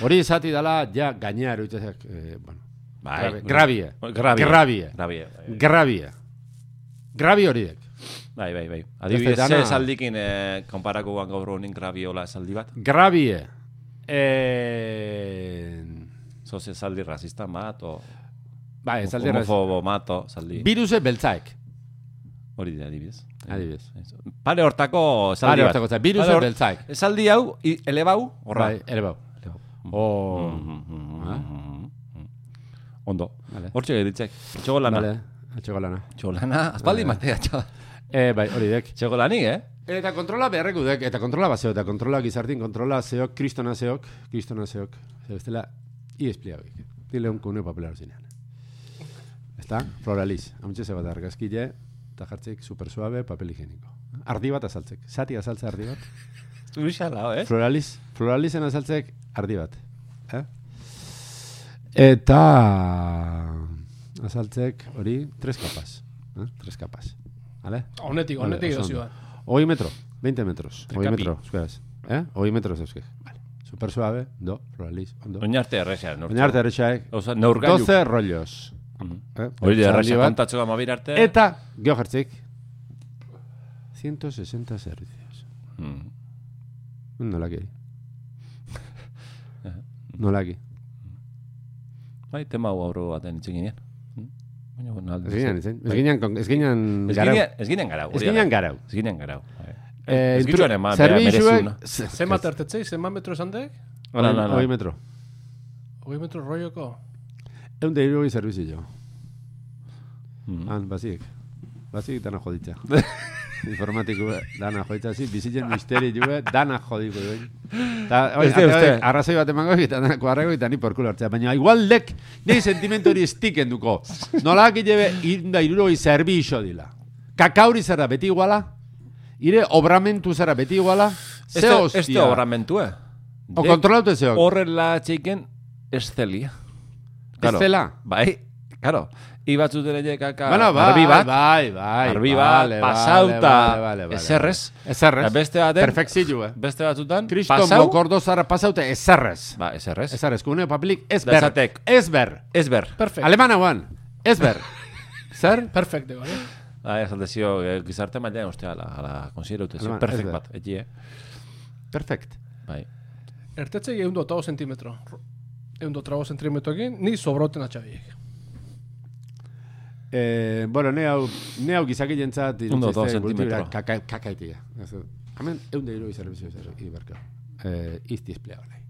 Speaker 3: Hori esati dala, ja, gainea eruditzak, eh, bueno,
Speaker 1: Bai,
Speaker 3: grabie,
Speaker 1: Grabie.
Speaker 3: grabie,
Speaker 1: Grabie, bai,
Speaker 3: grabie, grabie horiek.
Speaker 1: Bai, bai, bai. Adibidez,
Speaker 3: dana-
Speaker 1: ze esaldikin eh, konparako guan gaur honin grabiola esaldi bat.
Speaker 3: Grabie. Eh...
Speaker 1: Zoz esaldi rasista bat, o
Speaker 3: Ba, ez alde erraz.
Speaker 1: homofobo bat, o esaldi.
Speaker 3: Biruse beltzaek.
Speaker 1: Hori dira, adibidez.
Speaker 3: Adibidez.
Speaker 1: Pare hortako esaldi
Speaker 3: Pare
Speaker 1: bat.
Speaker 3: hortako esaldi. Virus
Speaker 1: Pare hor-
Speaker 3: beltzaik.
Speaker 1: Esaldi hau, i- elebau, horra.
Speaker 3: Bai, ere bau. Oh.
Speaker 1: Elebau.
Speaker 3: O...
Speaker 1: Mm-hmm. Ondo.
Speaker 3: Vale.
Speaker 1: Hortxe geritzek. Txogolana.
Speaker 3: Vale, atxeko lana.
Speaker 1: Txogolana, aspaldi matea, txo-
Speaker 3: Eh, bai, hori dek.
Speaker 1: txogolani, eh?
Speaker 3: Eta kontrola beharreko dek, eta kontrola bazeo, eta kontrola gizartin, kontrola zeok, kristona zeok, kristona zeok. Zer bestela, E i espliabik. Dile un kuneo papela horzinean. Eta, floraliz. Amutxe ze bat argazkile, eta jartzek super suave, papel higieniko. Ardi bat azaltzek. Zati azaltza ardi bat.
Speaker 1: Zurixala, eh?
Speaker 3: Floraliz, floralizen azaltzek ardi bat. Eh? Eta azaltzek hori tres kapaz. Eh? Tres kapaz. Vale?
Speaker 2: Honetik, honetik
Speaker 3: oso
Speaker 2: edo
Speaker 3: ondo. Hogei metro, 20 metros. Hogei
Speaker 1: kapi.
Speaker 3: metro, euskaraz. Eh? Hogei metros euskaz. Vale. Super suave, do, floraliz, ondo.
Speaker 1: Oinarte errexean. nortzuk.
Speaker 3: Oinarte errexaek,
Speaker 1: Osa, neurgailu. Mm.
Speaker 3: 12 rollos. Eh?
Speaker 1: Hori da,
Speaker 3: Esaldi
Speaker 1: erraxa
Speaker 3: bat.
Speaker 1: kontatxo gama birarte.
Speaker 3: Eta, geho jartzik, 160 servicios.
Speaker 1: Mm.
Speaker 3: Nolaki. Nolaki.
Speaker 1: Bai, tema hau aurro baten itxe ginean. Mm. Baina, bueno, alde.
Speaker 3: Ez ginen, ez ez ginen, kon- ez ginen
Speaker 1: Ez
Speaker 3: garau.
Speaker 1: ginean- ez ginean garau.
Speaker 3: Ez
Speaker 1: hori
Speaker 3: ginen
Speaker 1: da.
Speaker 3: garau.
Speaker 1: Ez ginean garau. bai.
Speaker 3: Eh,
Speaker 1: Ez
Speaker 3: intru-
Speaker 1: gituen eman, bea, mereziuna.
Speaker 3: zerbitzuek... ze-
Speaker 2: Zenbat ertetzei, zenbat metro esan dek?
Speaker 1: Hola, hola,
Speaker 3: Hogei
Speaker 1: hola.
Speaker 3: metro.
Speaker 2: Ogei metro roioko.
Speaker 3: Egun da irugei zerbizio.
Speaker 1: Mm.
Speaker 3: Han, bazik. Bazik Ah, dana joditza.
Speaker 1: [laughs]
Speaker 3: Informatiku eh, dana joditza, zi, bizitzen misteri jue, dana jodiko duen. Ta, oi,
Speaker 1: Uste,
Speaker 3: atera
Speaker 1: uste.
Speaker 3: dut, arrazoi bat emango, eta dana kuarrego, eta ni porkulo hartzea. Baina, igual dek, nei sentimentu hori estiken duko. Nolak jebe, irunda irurogei zerbizio dila. Kakauri zara beti iguala, ire obramentu zara beti iguala,
Speaker 1: Este-
Speaker 3: ze hostia.
Speaker 1: Este obramentu, eh?
Speaker 3: O
Speaker 1: Dek
Speaker 3: kontrolaute zeok.
Speaker 1: Horrela txeiken, ez zelia. Claro.
Speaker 3: zela?
Speaker 1: Bai, claro. Ibatzuten ere kaka
Speaker 3: Bueno, bai,
Speaker 1: arbi bat,
Speaker 3: bai, bai.
Speaker 1: arbi bat, pasauta, ezerrez.
Speaker 3: Ezerrez.
Speaker 1: Eta beste baten-
Speaker 3: Perfekzio, eh.
Speaker 1: Beste batzutan,
Speaker 3: Kriston
Speaker 1: pasau.
Speaker 3: mokordo zara pasauta ezerrez.
Speaker 1: Ba, ezerrez.
Speaker 3: Ezerrez, kuneo papelik
Speaker 1: Da
Speaker 3: ezber.
Speaker 1: esatek.
Speaker 3: Ezber.
Speaker 1: Ez ber.
Speaker 2: Perfect.
Speaker 3: Alemana guan,
Speaker 1: [laughs]
Speaker 3: ezber. Zer?
Speaker 2: Perfect dago, eh?
Speaker 1: Ah, esan dezio, eh, gizarte mailean uste ala, ala konsidera utezio,
Speaker 3: Alema, ez
Speaker 1: perfect
Speaker 3: da.
Speaker 1: bat, egi, eh?
Speaker 3: Perfect.
Speaker 1: Bai.
Speaker 2: Ertetzei egun dotago zentimetro. Egun dotago zentimetroekin, ni sobroten atxabiek.
Speaker 3: Eh, bueno, ne hau, ne hau gizaki jentzat,
Speaker 1: Ondo, dos
Speaker 3: zentimetro.
Speaker 1: zentimetro.
Speaker 3: Kaka, kakaitia. Ez dut. Hemen, eunde iroi zerbizio zer, iberka. Eh, izti esplea nahi.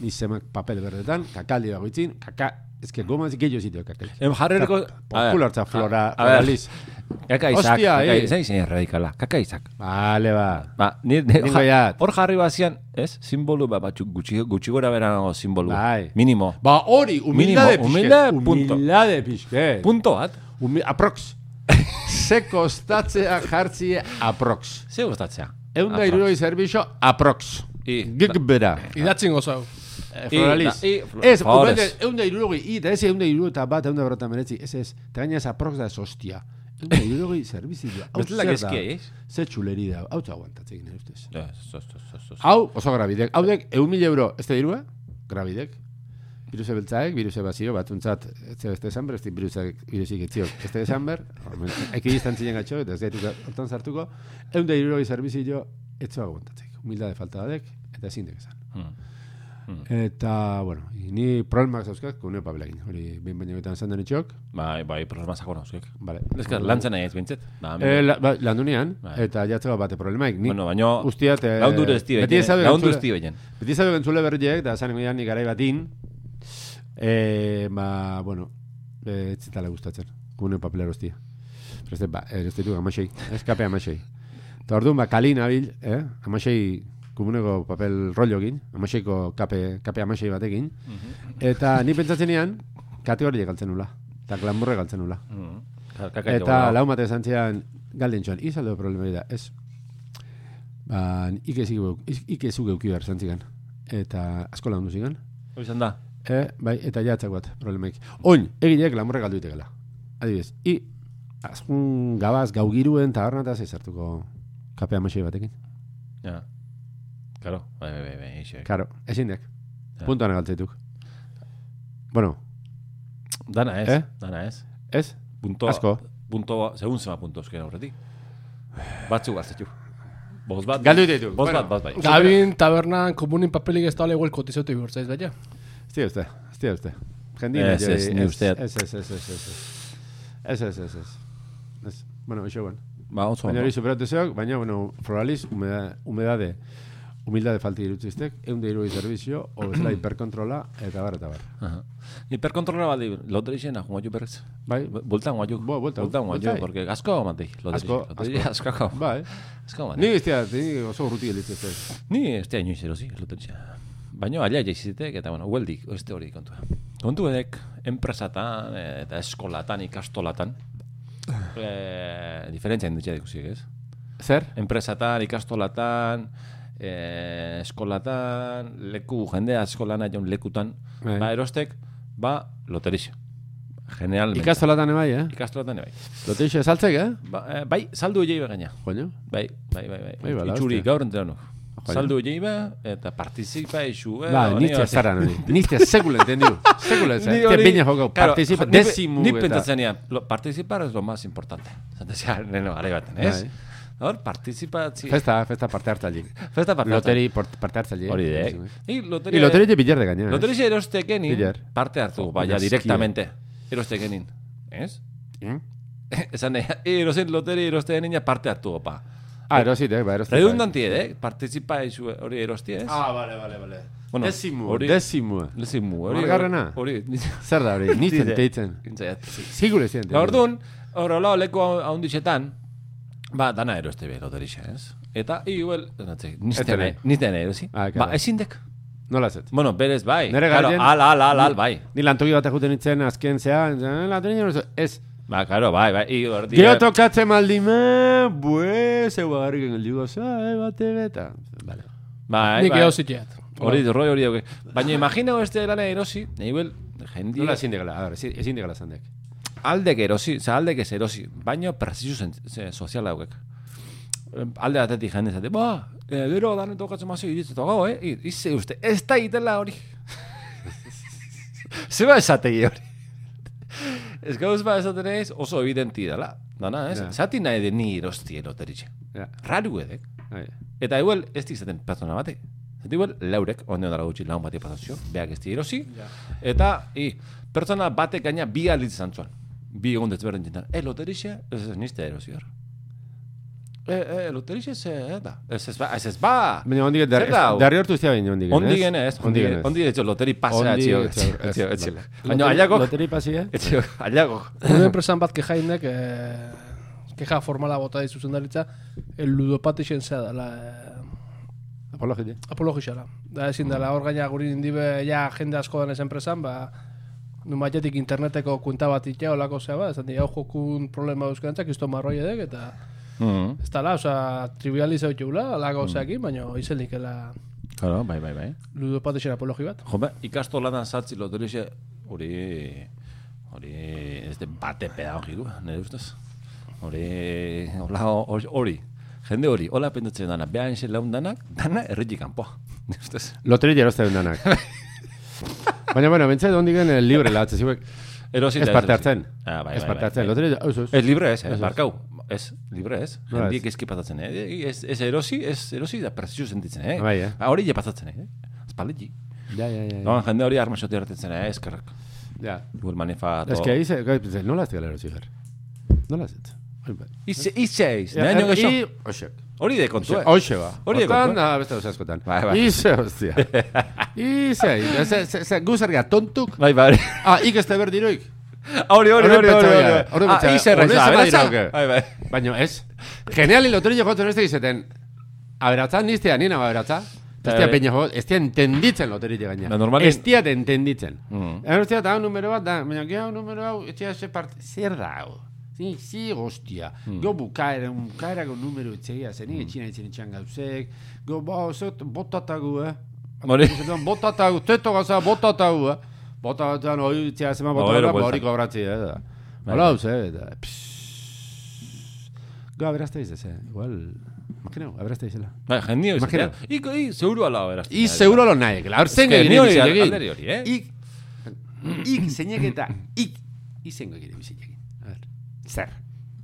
Speaker 3: Ni zemak papel berdetan, kakaldi dagoitzin, kaka, ezke gomaz gehiago zitio kakaik.
Speaker 1: Em jarrerko...
Speaker 3: Popul hartza flora,
Speaker 1: a- a ver.
Speaker 3: floraliz.
Speaker 1: Kaka izak,
Speaker 3: Hostia,
Speaker 1: kaka,
Speaker 3: eh.
Speaker 1: zein zein erradikala, kaka izak.
Speaker 3: Vale, ba.
Speaker 1: Ba, ni, ni-
Speaker 3: Ningo
Speaker 1: ja-
Speaker 3: jat.
Speaker 1: hor jarri bazian, ez? Simbolu bat batzuk gutxi, gutxi gora berago simbolu.
Speaker 3: Bai.
Speaker 1: Minimo.
Speaker 3: Ba hori, humildade
Speaker 1: Minimo,
Speaker 3: pixket.
Speaker 1: humilde, punto.
Speaker 3: Humildade pixket.
Speaker 1: Punto bat.
Speaker 3: Humi, [laughs] aprox. Ze kostatzea jartzie aprox.
Speaker 1: Ze gustatzea.
Speaker 3: Egun da iruroi zerbixo aprox.
Speaker 1: I-
Speaker 3: Gik bera.
Speaker 2: Idatzen gozau.
Speaker 3: Eh, Floraliz.
Speaker 1: da- i- fl-
Speaker 3: Ez,
Speaker 1: favores.
Speaker 3: humilde, egun da iruroi, i, eta ez egun da iruroi eta bat, egun da berrota meretzi. Ez ez, eta gaina ez aprox da ez hostia. Irurogei zerbizioa. Hau
Speaker 1: Bestela eh?
Speaker 3: zer da?
Speaker 1: gezkia, ez?
Speaker 3: Ze txuleri da. Hau aguantatzen nire ustez.
Speaker 1: Ez, ez, ez, ez, ez.
Speaker 3: Hau, oso grabidek. Haudek, eun mila euro, ez da dirua? Grabidek. Biruse beltzaek, biruse bazio, batuntzat, ez da beste esan ber, ez da birusek, birusik etziok, ez da esan ber, eki distantzien gatxo, eta ez gaitu hortan zartuko, egun da iruroi servizio, ez zoa gomentatzeko. Humildade falta dadek, eta ezin dek esan.
Speaker 1: Hmm.
Speaker 3: Eta, bueno, i ni problemak zauzkak, kuneo papelagin, hori, behin baino eta esan den etxok,
Speaker 1: Bai, bai, problema sakona, zuek.
Speaker 3: bale.
Speaker 1: Ez que lantzen nahi ez bintzet. Da,
Speaker 3: Eh, la, ba, landu nian,
Speaker 1: Bai.
Speaker 3: eta jatzeko bate problemaik. Ni
Speaker 1: bueno, baino,
Speaker 3: ustiat... Eh,
Speaker 1: laundu ez di
Speaker 3: beti
Speaker 1: behien.
Speaker 3: ezabe
Speaker 1: Laundu ez eh?
Speaker 3: gantzule-
Speaker 1: di behien.
Speaker 3: Beti zabe gentzule berriek, da zanen goian garai batin, eh, ba, bueno, eh, ez zitala gustatzen, gune papelero hostia. Preste, ba, eh, ez ditu amasei, eskape amasei. Eta orduan, ba, kali nabil, eh, amasei komuneko papel rollokin, amaseiko kape, kape amasei batekin, eta ni pentsatzen ean, kategoriek galtzen nula, eta glamurre galtzen nula.
Speaker 1: Mm.
Speaker 3: Eta lau mate esan zian, galden txuan, izaldo problemari da, ez. Ba, ikezu geuki behar zantzikan. Eta asko lagundu zigan.
Speaker 1: Izan da.
Speaker 3: E, bai, eta jatzak bat, problemaik. Oin, egileak lamurrek aldu itekela. Adibidez, i, azkun gabaz gaugiruen tabernataz ezartuko kapea masei batekin.
Speaker 1: Ja. Claro, bai, bai, bai, bai, ixe.
Speaker 3: Karo, ezindek.
Speaker 1: Ja.
Speaker 3: Puntuan galtzetuk. Bueno,
Speaker 1: Dana ez,
Speaker 3: Eh?
Speaker 1: dana ez.
Speaker 3: ez?
Speaker 1: Punto,
Speaker 3: Asko.
Speaker 1: Punto, ba- segun zema punto euskera horretik. Batzu gaztetxu. Bost bat.
Speaker 3: Galdu ditu.
Speaker 1: Bost
Speaker 3: Bueno.
Speaker 1: bat, bat bai.
Speaker 2: Gabin, tabernan, komunin papelik ez da igual kotizote bihurtzaiz, baina.
Speaker 3: Ez dira uste, ez dira uste. Jendina
Speaker 1: Ez, ez, ni usteat.
Speaker 3: Ez, ez, ez, ez, ez, ez. Ez, ez, ez, ez. Ez, bueno, iso bueno.
Speaker 1: Ba, oso.
Speaker 3: Baina
Speaker 1: ondo.
Speaker 3: hori superatu zeok, baina, bueno, floraliz, humeda- humedade, humildade falti irutziztek, egun de irugei servizio, o bezala hiperkontrola, eta bar, eta bar.
Speaker 1: Ajá. Hiperkontrola baldi, loterixen ahuma jo berrez.
Speaker 3: Bai,
Speaker 1: Bultan guaio.
Speaker 3: Bo, bueltan,
Speaker 1: Bultan guaio,
Speaker 3: bueltai.
Speaker 1: porque asko matei. Loterixen.
Speaker 3: Asko,
Speaker 1: Loterixen asko. Asko hau.
Speaker 3: bai.
Speaker 1: Asko hau.
Speaker 3: Ni bestia, ni oso urruti elitziztek.
Speaker 1: Ni este año izero, sí, loterixen. Baina alia jaizitek, eta bueno, hueldik, este hori kontua. Kontu edek, enpresatan, eh, eta eskolatan, ikastolatan, eh, diferentzia indutxea dikusiek, ez?
Speaker 3: Zer?
Speaker 1: enpresatan, ikastolatan, eh, eskolatan, leku jendea eskolan aion lekutan,
Speaker 3: Bai.
Speaker 1: ba erostek, ba loterixa. Generalmente.
Speaker 3: Ikastolatan ebai, eh?
Speaker 1: Ikastolatan bai.
Speaker 3: Loteixo esaltzek, eh?
Speaker 1: Ba, eh, bai, saldu hile gaina.
Speaker 3: Coño.
Speaker 1: Bai, bai, bai, bai.
Speaker 3: Bai, bala,
Speaker 1: Itxuri,
Speaker 3: hostia.
Speaker 1: gaur entrenuk.
Speaker 3: Joder.
Speaker 1: Saldu hile eta participa isu. eh,
Speaker 3: Ba,
Speaker 1: honi,
Speaker 3: nizte
Speaker 1: hori.
Speaker 3: zara nori. Nizte sekula entendiu. Sekula ez.
Speaker 1: Ni
Speaker 3: Te
Speaker 1: hori-
Speaker 3: bina jokau.
Speaker 1: Claro,
Speaker 3: Participa,
Speaker 1: ni pe-
Speaker 3: desimu.
Speaker 1: Ni
Speaker 3: eta-
Speaker 1: pentsatzen ean, lo- participar es lo más importante. [laughs] Zantzea, neno, are baten, ez?
Speaker 3: Bai.
Speaker 1: Hor, participazi...
Speaker 3: Festa, festa [laughs] parte hartzaileek.
Speaker 1: Festa parte hartzen.
Speaker 3: Loteri por- parte hartzaile.
Speaker 1: Hori de. eh. Y
Speaker 3: Y loteri de billar de gaina.
Speaker 1: Loteria eh? erostekenin
Speaker 3: Billar.
Speaker 1: parte hartu,
Speaker 3: Jo,
Speaker 1: baina
Speaker 3: baina
Speaker 1: directamente erostekenin. Ez? [laughs]
Speaker 3: ¿Eh?
Speaker 1: Esan nahi, erosen loteria erostekenin ja parte hartu, opa.
Speaker 3: Ah, erosit, eh? Ba, erosit.
Speaker 1: Redundanti ere, eh? participa izu hori erostia, ez?
Speaker 3: Ah, vale, vale, vale.
Speaker 1: Bueno,
Speaker 3: Desimu,
Speaker 1: hori-
Speaker 3: desimu.
Speaker 1: Lezimu, hori...
Speaker 3: Hamargarrena.
Speaker 1: Hori, [laughs]
Speaker 3: Zer da [laughs] hori, nintzen
Speaker 1: Nire.
Speaker 3: teitzen.
Speaker 1: nintzaiat.
Speaker 3: Sigure ziren.
Speaker 1: Eta orduan, horrela leku haundixetan, ba, dana eroste be loterixa, ez? Eta, igual,
Speaker 3: Este
Speaker 1: nizten
Speaker 3: nahi.
Speaker 1: nizten erosi.
Speaker 3: Ah,
Speaker 1: Ba,
Speaker 3: claro.
Speaker 1: ezindek.
Speaker 3: Nola zet.
Speaker 1: Bueno, berez, bai.
Speaker 3: Nere
Speaker 1: Claro,
Speaker 3: garaien-
Speaker 1: Ala, ala, ala, ala, bai.
Speaker 3: Ni lantoki bat juten nintzen, azken zean, eh, lantoki nintzen, ez.
Speaker 1: Ba, claro, bai, bai. I, hor dire-
Speaker 3: Gero tokatzen eh, maldime, bue, zeua garrik engelduko, zae, bate beta. Vale.
Speaker 1: Bai,
Speaker 2: Nik
Speaker 1: bai.
Speaker 2: eosi jeat.
Speaker 1: Hori, roi hori dauke. Baina imagina beste lana erosi, nahi huel, jendi...
Speaker 3: Nola ezin degala, a ver, ezin ezin degala zandek.
Speaker 1: Aldek erosi, oza, aldek ez erosi. Baina presizu zen, ze, soziala daukek. Em, Alde batetik jende zate, ba, eh, gero danen tokatzen mazio iritzu togo, eh? I- Ize uste, ez da itela hori. Zeba esategi hori. Ez gauz ba esaten ez oso evidenti dela. Dana, ez?
Speaker 3: Ja.
Speaker 1: Zati nahi de ni erosti eroteritxe.
Speaker 3: Ja,
Speaker 1: Raru edek.
Speaker 3: bai.
Speaker 1: Eta igual, ez di izaten pertsona batek. Eta igual, laurek, ondo dara gutxi laun bati pasazio, beak ez di erosi. Eta, i, pertsona batek gaina bi aliz izan zuen. Bi egun desberdin dintan. E, loterixe, ez ez nizte erosi hor. E, e, loterixe, ez ez da. Ez ez ba, ez ez ba.
Speaker 3: Baina ondik, dar-
Speaker 1: Zer da hau?
Speaker 3: ez- darri hortu izan baina ondik.
Speaker 1: Ondi genez, ondi
Speaker 3: Ondik
Speaker 1: genez.
Speaker 3: genez.
Speaker 1: Ondi genez, loteri pasea
Speaker 3: Ondik
Speaker 1: etxio.
Speaker 3: etxeo, ez,
Speaker 1: Etxio, etxio.
Speaker 3: vale.
Speaker 1: Baina,
Speaker 3: Loteri-
Speaker 1: aliago,
Speaker 3: Loteri pasia?
Speaker 1: etxio, aliago.
Speaker 2: Una enpresan bat kejainek, eh, keja formala bota dizu zendaritza, el ludopatixen zea dela, eh,
Speaker 3: Apolo jete.
Speaker 2: apologixala. Da ezin dela, hor gaina guri indibe, ja jende asko denez enpresan, ba, numatetik interneteko kuenta bat itea, olako zea ba, esan dira, hau jokun problema euskarantzak, isto marroi edek, eta
Speaker 1: Mhm.
Speaker 2: ez dala, osea, trivializau jeula, alako zeakin, baina izelik, ela,
Speaker 1: Claro, bai, bai, bai.
Speaker 2: ludopatixen apologi bat.
Speaker 1: Jo, ba, ikastolatan zatzi loterixe, hori, hori, ez de bate pedagogikoa, nire ustez. Hori, hola, hor- hori, jende hori, hola pentsatzen dana, behan xe laun danak, dana erritik kanpoa. Ustez.
Speaker 3: Loterik erozten danak. Baina, bueno, bentsat, ondik gen eh, libre latzen zibek.
Speaker 1: Erosita,
Speaker 3: Ez parte
Speaker 1: erosi.
Speaker 3: hartzen.
Speaker 1: Ah, bai,
Speaker 3: Ez
Speaker 1: bai,
Speaker 3: parte
Speaker 1: bai,
Speaker 3: hartzen.
Speaker 1: bai.
Speaker 3: Loterik, oso,
Speaker 1: Ez libre ez, eh? barkau. Ez, libre ez.
Speaker 3: Nola
Speaker 1: Hendik
Speaker 3: ez?
Speaker 1: eski pasatzen, eh? Ez, ez erosi, ez erosi da prezio sentitzen, eh?
Speaker 3: Bai, eh?
Speaker 1: Ba, Hori je pasatzen, eh? Azpaleti.
Speaker 3: Ja, ja, ja.
Speaker 1: No, jende hori armasote hartetzen, eh? Eskerrak.
Speaker 3: ja.
Speaker 1: Igual manefa...
Speaker 3: Ez que hice, gai, pentsa, nola ez gara erosi ber? Nola ez?
Speaker 1: Ize, ize, ize, nahi nio gexo.
Speaker 3: Oxe.
Speaker 1: Hori de kontua.
Speaker 3: Hoxe ba.
Speaker 1: Hori dugu,
Speaker 3: Hortan
Speaker 1: eh?
Speaker 3: da beste gauza askotan.
Speaker 1: Bai, bai.
Speaker 3: Ize,
Speaker 1: [laughs]
Speaker 3: hostia. Ize, ize. Ze- ze- ze- Gu zerga tontuk.
Speaker 1: Bai, bai.
Speaker 3: Ah, ik ez da berdiroik.
Speaker 1: Hori, hori, hori, hori, hori.
Speaker 3: Hori
Speaker 1: Ah,
Speaker 3: pentsa,
Speaker 1: ize erraiza,
Speaker 3: hori ez
Speaker 1: aberatza.
Speaker 3: badira, oke?
Speaker 1: Bai, bai.
Speaker 3: Baina ez. Geniali loterio jotzen ez da izeten. Aberatza niztea, nina aberatza. Ez
Speaker 1: Bai,
Speaker 3: dira
Speaker 1: bai.
Speaker 3: peña jo, ez dira entenditzen loterio gaina.
Speaker 1: Eh, Da, normalin-
Speaker 3: Ez dira entenditzen.
Speaker 1: Mm.
Speaker 3: Eta hostia, da un numero bat, da, baina gero numero hau, ez dira ze part, zer da hau? Zi, zi, hostia.
Speaker 1: Mm.
Speaker 3: Gero bukaera, bukaerako numero etxeia, zen, mm. etxina etxina etxean gauzek. Gero, ba, zet, botatagu, eh?
Speaker 1: Hori.
Speaker 3: Zetan, botatagu, teto gauza, botatagu, eh? Botatagu, hori, txea, zema,
Speaker 1: gero
Speaker 3: botatagu, ba,
Speaker 1: buelta.
Speaker 3: hori kobratzi, eh? da.
Speaker 1: Bai.
Speaker 3: Hola, hau, ze, eta, psss. Gero, aberazte izaz, eh? Igual, makinau, aberazte izela.
Speaker 1: Bai, jendio izatea.
Speaker 3: Imagina.
Speaker 1: Iko, i, zeuru ala berazten.
Speaker 3: I seguro lo nahi, la
Speaker 1: Ez
Speaker 3: horzen
Speaker 1: que
Speaker 3: egin
Speaker 1: ni hori-
Speaker 3: bizi egin.
Speaker 1: alderi hori, eh?
Speaker 3: Ik, ik, zeinek eta ik, izengo egin bizi egin. A ber, zer.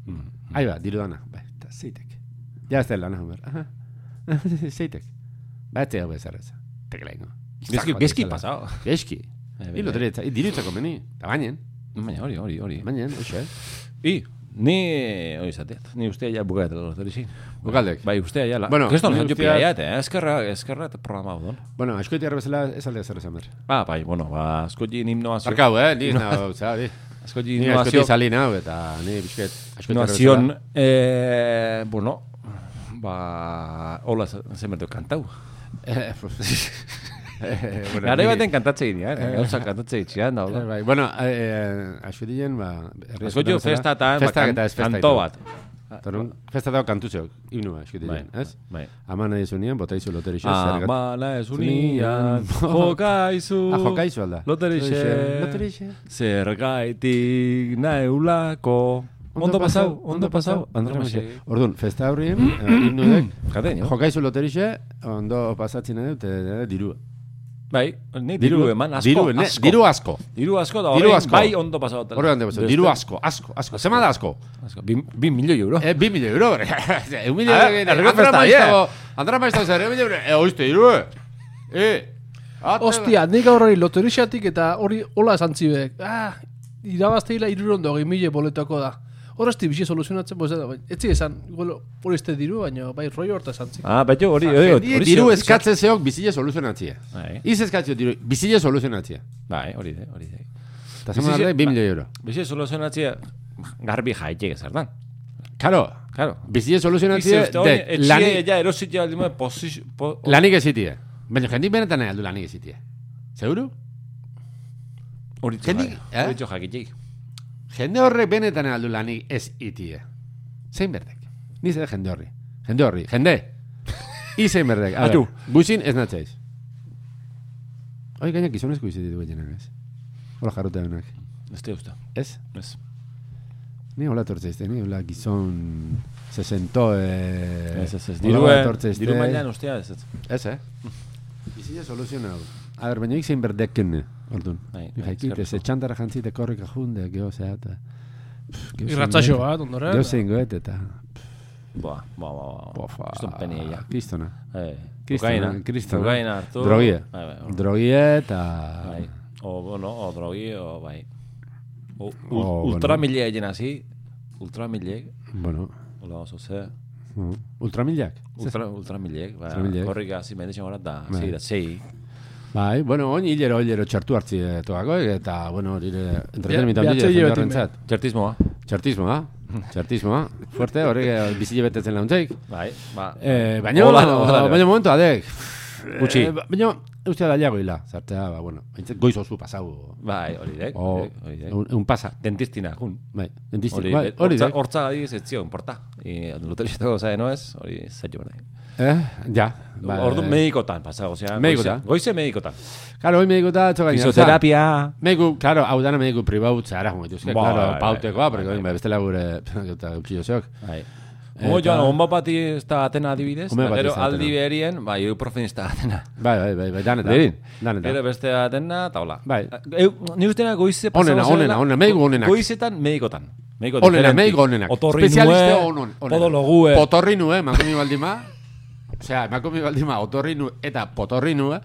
Speaker 1: Mm.
Speaker 3: Ahi ba, diru dana, ba, eta zeitek. Ja ez da lana, homer. Aha. [laughs] Zeitek. Ba, ez zego bezar ez. Tekela ingo.
Speaker 1: Gezki, gezki pasao.
Speaker 3: Gezki.
Speaker 1: Bai, bai,
Speaker 3: I lotere, eta eh, diru itzako meni. Eta bainen,
Speaker 1: Baina hori, hori, hori.
Speaker 3: bainen, oso, eh?
Speaker 1: I, ni, hori zateat, ni ustea ja bukaetela lortu erixin.
Speaker 3: Bukaldek.
Speaker 1: Bai, ustea ja la.
Speaker 3: Bueno,
Speaker 1: Keston,
Speaker 3: ni
Speaker 1: jo
Speaker 3: ustea-
Speaker 1: pila jat, eh? Eskerra, eskerra eta programa hau don.
Speaker 3: Bueno, askoite arbezela ez aldea zer esan ber.
Speaker 1: Ah, bai, bueno, ba, askotin himnoazio.
Speaker 3: Arkau, eh? Ni ez nago, zauri.
Speaker 1: [laughs] Askotin
Speaker 3: Ni askoite
Speaker 1: himnoazio.
Speaker 3: izali nago, eta ni bizket. askoite arbezela.
Speaker 1: Himnoazion, eh, bueno, ba, hola, zemertu kantau.
Speaker 3: [laughs]
Speaker 1: [laughs]
Speaker 3: Eh, eh, bueno,
Speaker 1: Gara
Speaker 3: ni-
Speaker 1: baten kantatze ginean, eh? Gauza kantatze itxian, da,
Speaker 3: Eh,
Speaker 1: hola.
Speaker 3: Bai, bueno, eh, asudien, ba... herri askotan
Speaker 1: Askotin
Speaker 3: bezala,
Speaker 1: festatan, ba,
Speaker 3: festak eta
Speaker 1: kan-
Speaker 3: ez festa
Speaker 1: kanto bat.
Speaker 3: Torun, festa dago kantuzeok, himnua, asudien,
Speaker 1: Bai,
Speaker 3: ez?
Speaker 1: bai.
Speaker 3: Ama nahi zunean, bota izu loteri xo,
Speaker 1: Amala ez unian, [laughs] jokaizu.
Speaker 3: Ah, jokaizu alda.
Speaker 1: Loterixe.
Speaker 3: Loterixe.
Speaker 1: Zergaitik naeulako. Ondo pasau, ondo pasau. Andre Maxe.
Speaker 3: Orduan, festa horri, eh, himnuek,
Speaker 1: Jaten, jo?
Speaker 3: jokaizu loterixe, ondo pasatzen nahi dut, eh, dirua.
Speaker 1: Bai, ni diru eman asko.
Speaker 3: Diru, ne,
Speaker 1: asko.
Speaker 3: diru asko.
Speaker 1: Diru asko da
Speaker 3: Diru
Speaker 1: orain
Speaker 3: asko.
Speaker 1: bai ondo pasau.
Speaker 3: Horrean debo, diru asko, asko, asko. Zema da asko?
Speaker 1: asko. Bin, bin milio euro.
Speaker 3: Eh, bi milio euro, [laughs] bere. Eun milio
Speaker 1: Ah,
Speaker 3: euro gine.
Speaker 1: errege
Speaker 3: Andra
Speaker 1: festa,
Speaker 3: maiztago, andra maiztago zer, eun milio euro. Eh, oizte, iru, eh. Eh. ate-
Speaker 2: Ostia, nik gaur hori loterixatik eta hori hola esan zibek. Ah, irabazteila irurondo hogei mila boletako da. Horrezti bizi soluzionatzen bozera da, baina etzi esan, igual hori este diru, baina bai rollo horta esan zik.
Speaker 1: Ah, baito hori, hori, hori.
Speaker 3: Jendi diru eskatzen zeok bizile soluzionatzia.
Speaker 1: Bai.
Speaker 3: Iz eskatzen diru, bizile soluzionatzia.
Speaker 1: Bai, hori da, hori da.
Speaker 3: Eta zema
Speaker 1: Bizile-
Speaker 3: da, bi milio euro.
Speaker 1: Bizi soluzionatzea garbi jaitek ezardan.
Speaker 3: Karo,
Speaker 1: Claro.
Speaker 3: bizile
Speaker 1: Bizi
Speaker 3: soluzionatzea,
Speaker 1: uste hori,
Speaker 3: dek,
Speaker 1: etxie
Speaker 3: lani-
Speaker 1: ja erositia aldima posiz... po-
Speaker 3: lanik ezitie. Baina jendik benetan nahi aldu lanik ezitie. Zeuru?
Speaker 1: Hori txo
Speaker 3: Jendik-
Speaker 1: jai-
Speaker 3: eh?
Speaker 1: hori txo jakitik.
Speaker 3: Jende horre benetan aldu lanik ez itie. Zein berdek? Ni zer jende horri. Jende horri. Jende! Izein berdek. A
Speaker 1: Atu.
Speaker 3: ber, guzin ez natzaiz. Hoi gainak gizonezko izitit guetxenak ez. Hola jarrota denak.
Speaker 1: Ez te usta.
Speaker 3: Ez?
Speaker 1: Ez.
Speaker 3: Ni hola tortzeizte, ni hola gizon... Sesento... Eh,
Speaker 1: Ez, ez, ez.
Speaker 3: hola
Speaker 1: Diru,
Speaker 3: bat
Speaker 1: eh,
Speaker 3: etortzeizte.
Speaker 1: diru mailan ostea ez ez.
Speaker 3: Ez, Este. eh? Bizile soluzionau. A ber, baina ikzein berdeken, orduan.
Speaker 1: Bai, bai,
Speaker 3: Ikakit, ez
Speaker 1: eskerrik asko.
Speaker 3: etxandara jantzite korrika junde, geho zehata.
Speaker 2: Irratzaxo bat, ondoren.
Speaker 3: Geu zein goet eta...
Speaker 1: Oh, Boa, boa, boa, boa. Kiston penia ja.
Speaker 3: Kristona.
Speaker 1: Eh,
Speaker 3: Kristona,
Speaker 1: kokaina,
Speaker 3: kristona.
Speaker 1: kokaina hartu.
Speaker 3: Drogie.
Speaker 1: Bai, bai, hor-
Speaker 3: Drogie eta...
Speaker 1: bai. O, bueno, o drogi, o bai. O, u,
Speaker 3: O, bueno.
Speaker 1: ultramile egin hazi, ultramile,
Speaker 3: Bueno,
Speaker 1: hola oso ze,
Speaker 3: mm, ultramilak.
Speaker 1: ultra, ultramile, bai,
Speaker 3: Ultramilek.
Speaker 1: korrik hazi, mendixen horat da,
Speaker 3: Bai.
Speaker 1: hazi da, zei.
Speaker 3: Bai, bueno, oin hilero, hilero txartu hartzi eh, toako, eta, bueno, hori entretenimita
Speaker 2: Bea-
Speaker 3: handi
Speaker 2: behatzaile
Speaker 3: jende
Speaker 2: beti
Speaker 3: horrentzat.
Speaker 1: Txertismoa,
Speaker 3: Txartismoa,
Speaker 1: [laughs]
Speaker 3: txartismoa. ¿ah? Fuerte, hori eh, bizile betetzen launtzeik.
Speaker 1: bai, ba.
Speaker 3: Eh, baina,
Speaker 1: Hola, Eh,
Speaker 3: baina,
Speaker 1: hola, hola.
Speaker 3: baina momentu, adek.
Speaker 1: Utzi.
Speaker 3: Eh, baina, eustea dailago hila, zartzea,
Speaker 1: ah,
Speaker 3: ba, bueno, aintzat goiz oso pasau.
Speaker 1: Bai, hori dek.
Speaker 3: O,
Speaker 1: hori dek, hori dek.
Speaker 3: un, un pasa.
Speaker 1: Dentistina, jun.
Speaker 3: Bai, Oh. dentista,
Speaker 1: Hori,
Speaker 3: bai, hori
Speaker 1: hortza,
Speaker 3: dek.
Speaker 1: hortza adibiz ez zion, porta. I, loterixetako zae, no ez? Hori zaitu bera.
Speaker 3: Eh, ja.
Speaker 1: Ba, Ordu medikotan, pasa, osea,
Speaker 3: Medikotan.
Speaker 1: goize- Goize medikotan.
Speaker 3: Claro, hoi mediku da, txokain.
Speaker 1: Fisioterapia.
Speaker 3: Mediku, claro, hau dana mediku pribau txara, momentu, eske,
Speaker 1: Bai,
Speaker 3: claro,
Speaker 1: bai,
Speaker 3: pautekoa,
Speaker 1: bai,
Speaker 3: porque
Speaker 1: bai,
Speaker 3: oin, bestela gure, eh, [laughs] eta eukio zeok.
Speaker 1: Bai.
Speaker 3: Eh,
Speaker 1: Homo joan, honba bati ez da atena adibidez,
Speaker 3: Homeo
Speaker 1: eta
Speaker 3: bati
Speaker 1: gero
Speaker 3: ez da
Speaker 1: aldi
Speaker 3: atena.
Speaker 1: berien, bai, euprofen ez da atena.
Speaker 3: Bai, bai, bai, bai, daneta.
Speaker 1: Dedin? Gero
Speaker 3: Daneta.
Speaker 1: beste atena, eta hola. Eh,
Speaker 3: Bai.
Speaker 1: Eu, ni ustena goize pasako
Speaker 3: Onena,
Speaker 1: zela-
Speaker 3: onena, onena, mediku onenak.
Speaker 1: Goizetan medikotan. Mediko
Speaker 3: Onena,
Speaker 1: diferentik.
Speaker 3: mediku onenak.
Speaker 1: Otorrinue,
Speaker 3: Spezialiste onon- onenak.
Speaker 1: podologue.
Speaker 3: Potorri nue, makomi baldima. [laughs] Osea, makomi baldima, otorri nue, eta potorri nue.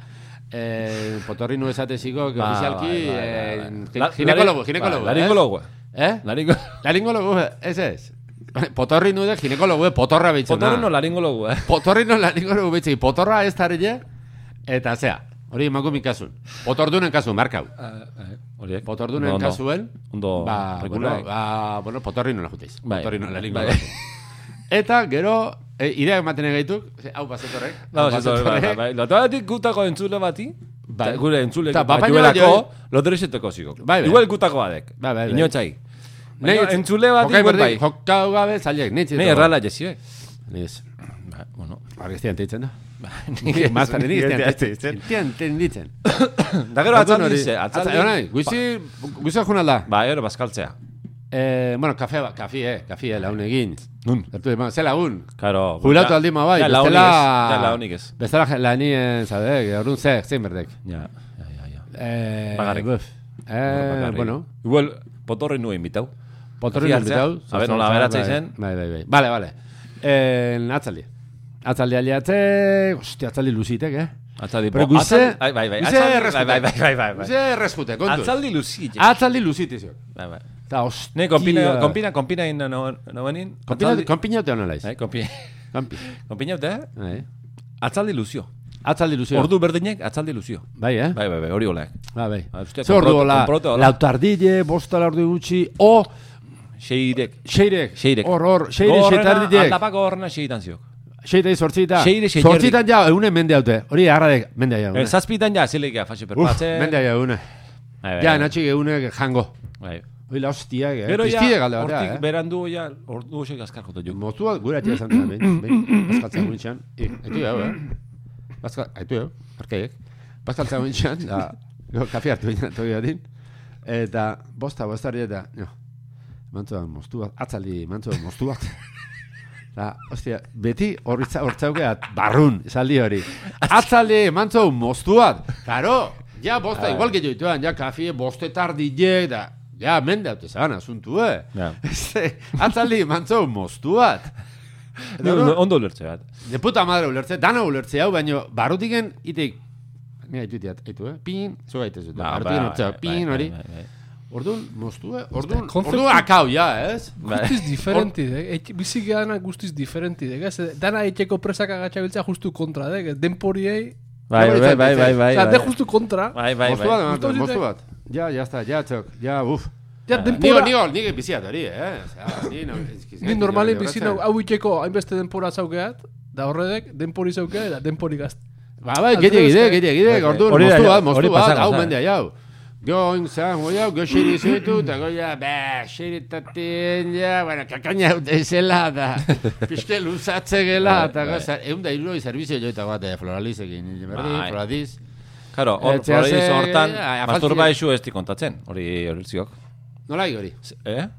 Speaker 3: Eh, potorri nue esateziko, que
Speaker 1: Ba,
Speaker 3: ofizialki,
Speaker 1: bai, bai, bai,
Speaker 3: eh,
Speaker 1: bai.
Speaker 3: gi-
Speaker 1: La-
Speaker 3: ginekologo,
Speaker 1: lari-
Speaker 3: ginekologo.
Speaker 1: ba,
Speaker 3: eh?
Speaker 1: laringologo.
Speaker 3: Eh?
Speaker 1: Laringo...
Speaker 3: Laringologo, ez ez. Potorri nue, ginekologo, potorra beitzen.
Speaker 1: Potorri no laringologu, eh?
Speaker 3: Potorri non laringologo beitzen, potorra ez tarile, eta zea. Hori emakumin kasun. Potordunen kasun, markau.
Speaker 1: Horiek.
Speaker 3: Potordunen
Speaker 1: Ondo, ondo.
Speaker 3: kasuen,
Speaker 1: Ondo,
Speaker 3: ba, bueno,
Speaker 1: regulak.
Speaker 3: ba, bueno, potorri nola juteiz.
Speaker 1: Bai.
Speaker 3: Potorri nola lingo.
Speaker 1: Bai.
Speaker 3: Bai. Eta, gero, e, idea ematen egaituk, ze, hau bazetorrek.
Speaker 1: Vamos, ez hori, bai, bai. Lotoratik gutako entzule bati,
Speaker 3: ba, Bai.
Speaker 1: eta gure entzule
Speaker 3: Ta,
Speaker 1: bat
Speaker 3: bapaino
Speaker 1: duelako,
Speaker 3: baino-
Speaker 1: lotoresetoko ziko.
Speaker 3: Bai, bai.
Speaker 1: Igual gutako badek.
Speaker 3: Bai, bai, bai.
Speaker 1: Inotzai. Baina entzule bati,
Speaker 3: Jokau
Speaker 1: igual
Speaker 3: berdin,
Speaker 1: bai.
Speaker 3: Jokau gabe, zailek, nintzi.
Speaker 1: Nei errala
Speaker 3: [laughs]
Speaker 1: jesiek.
Speaker 3: Niz,
Speaker 1: Ba, bueno.
Speaker 3: argestian teitzen da.
Speaker 1: [laughs] Ni-
Speaker 3: Mazan,
Speaker 1: ni-
Speaker 3: niz,
Speaker 1: ni-
Speaker 3: tian teitzen.
Speaker 1: Da gero atzaldi ze, atzaldi.
Speaker 3: Atzaldi, guizi, guizi junalda.
Speaker 1: Ba, gero bazkaltzea.
Speaker 3: Eh, bueno, kafe, ba- kafi, eh, kafi, eh, laun egin.
Speaker 1: Nun?
Speaker 3: Gertu eman, ze lagun.
Speaker 1: Karo.
Speaker 3: Jubilatu
Speaker 1: ja-
Speaker 3: aldi ma bai,
Speaker 1: ja, la honik
Speaker 3: bestela...
Speaker 1: ez, Ja, la honik ez.
Speaker 3: Bestela je- lanien, zadek, orduan ze, zein berdek.
Speaker 1: Ja, ja, ja, ja.
Speaker 3: Eh,
Speaker 1: Bakarrik.
Speaker 3: buf. Eh,
Speaker 1: Bakarrik.
Speaker 3: bueno,
Speaker 1: Igual, potorri nuen invitau.
Speaker 3: potorri
Speaker 1: Kafi hartzea.
Speaker 3: nolbitau.
Speaker 1: A ber, nola beratza izen.
Speaker 3: Bai, bai, bai. Bale, bale. Eh, atzaldi. Atzaldi aliatze, hostia, atzaldi luzitek, eh?
Speaker 1: Atzaldi.
Speaker 3: Pero
Speaker 1: po-
Speaker 3: guize-
Speaker 1: atzaldi- Ai, Bai, bai,
Speaker 3: guize
Speaker 1: atzaldi-
Speaker 3: errezkute.
Speaker 1: bai, bai, bai, bai, bai.
Speaker 3: Ze errezkute, kontu.
Speaker 1: Atzaldi luzi.
Speaker 3: Atzaldi luzitizio.
Speaker 1: Bai, bai.
Speaker 3: Ta, hostia.
Speaker 1: Ne, kompina, kompina, kompina inna nobenin.
Speaker 3: Kompina, kompina otean nolaiz.
Speaker 1: Eh, kompi- [laughs]
Speaker 3: Kompi.
Speaker 1: kompina eta
Speaker 3: Eh.
Speaker 1: atzaldi luzio.
Speaker 3: Atzaldi luzio.
Speaker 1: Ordu berdinek atzaldi luzio.
Speaker 3: Bai, eh?
Speaker 1: Bai, bai, bai, hori olek.
Speaker 3: Ba, bai.
Speaker 1: Ah, hostia,
Speaker 3: Ze ordu
Speaker 1: konproto-
Speaker 3: hola,
Speaker 1: konproto hola.
Speaker 3: lautardile, bostala ordu gutxi, o,
Speaker 1: Seirek.
Speaker 3: seirek,
Speaker 1: Seirek.
Speaker 3: hor, hor, seire,
Speaker 1: Gorrena,
Speaker 3: seitardilek,
Speaker 1: Aldapako horrena seitan ziok.
Speaker 3: seire, sortzita,
Speaker 1: Seire, seiterdik.
Speaker 3: sortzitan ja, egunen mende haute, hori agarradek, mende ja,
Speaker 1: Eh,
Speaker 3: egunen.
Speaker 1: zazpitan ja, zilegia, fase
Speaker 3: Uf,
Speaker 1: perpatze.
Speaker 3: mende ja, egunen.
Speaker 1: Bai, bai,
Speaker 3: Ja,
Speaker 1: bai.
Speaker 3: natxik egunek jango.
Speaker 1: Bai.
Speaker 3: Hoi la hostia, eh?
Speaker 1: Gero ja,
Speaker 3: Piztide galde
Speaker 1: hortik
Speaker 3: batea, eh?
Speaker 1: berandu ja, ordu hoxe gazkar jota jo.
Speaker 3: Motua gure atia esan dena, behin, behin, bazkaltzea guintxan. Aitu jau, eh? Bazka, aitu jau, arkaiek. Bazkaltzea guintxan, da, go, kafe hartu ginen toki batin. Eta, bosta, bostari eta, jo, mantua moztu bat, atzaldi mantua moztu bat. Da, ostia, beti horritza hortzaukeat barrun, esaldi hori. Atzaldi mantua moztu bat. Karo, ja, bosta, igual gehiago dituan, ja, kafe, bostetar dile, da, ja, mende haute zan, asuntu, eh?
Speaker 1: Ja.
Speaker 3: [laughs] Ze, Atzaldi mantzau moztu bat.
Speaker 1: Ne,
Speaker 3: Eta,
Speaker 1: Ondo ulertze bat.
Speaker 3: De puta madre ulertze, dana ulertze hau, baino barrutiken itek Ni haitu diat, haitu, eh? Pin, zu gaitez dut.
Speaker 1: Ba,
Speaker 3: Barrutiken
Speaker 1: ba,
Speaker 3: hortzea,
Speaker 1: bai,
Speaker 3: pin
Speaker 1: bai,
Speaker 3: hori.
Speaker 1: bai, bai,
Speaker 3: Orduan, moztu, eh? Orduan,
Speaker 2: konzeptu-
Speaker 3: orduan akau, ja, ez?
Speaker 1: bai.
Speaker 2: Guztiz diferenti, dek. Et, bizi dana guztiz diferenti, dek. Ez, dana etxeko presaka gatxabiltza justu kontra, eh, dek. Denporiei...
Speaker 1: Bai, bai, bai, bai, bai,
Speaker 2: Osa,
Speaker 1: bai.
Speaker 2: de justu kontra.
Speaker 1: Bai, bai,
Speaker 3: Moztu bat,
Speaker 1: bai.
Speaker 3: ematen,
Speaker 2: Moztu
Speaker 3: moztu
Speaker 2: zitek.
Speaker 3: bat. Ja, ja, esta, ja, txok, ja, uf.
Speaker 1: bai.
Speaker 2: Ja,
Speaker 3: Nigo,
Speaker 2: denpora...
Speaker 3: nigo, nige biziat hori, eh? Osea, ni no- ez- ez-
Speaker 2: Ni normalen
Speaker 3: ez-
Speaker 2: bizi nau, hau itxeko hainbeste denpora zaukeat, da horredek, denpori zaukeat, eta denpori gazt.
Speaker 3: Ba, bai, gehiagide,
Speaker 2: Alfredo,
Speaker 3: gehiagide,
Speaker 1: bai, bai.
Speaker 3: orduan,
Speaker 1: Hori da,
Speaker 3: moztu
Speaker 1: hori
Speaker 3: bat, moztu bat,
Speaker 1: pasako
Speaker 3: hau
Speaker 1: zen.
Speaker 3: mendea jau. Gio, oin zan, goi hau, gio xeri zuetu, eta goi ja, be, xeri taten, ja, bueno, kakaina hau deizela,
Speaker 1: [laughs]
Speaker 3: da, pixke luzatze gela,
Speaker 1: Bai,
Speaker 3: eta
Speaker 1: bai.
Speaker 3: goza, egun da iruroi servizio joita bat, eh, floralizekin, nire berdi,
Speaker 1: Bai.
Speaker 3: floraliz.
Speaker 1: Karo, hor,
Speaker 3: Etxea
Speaker 1: hori
Speaker 3: ze-
Speaker 1: hortan,
Speaker 3: afaltzi-
Speaker 1: masturba esu ez di kontatzen, hori hori ziok.
Speaker 3: Nola igori,
Speaker 1: Z- Eh?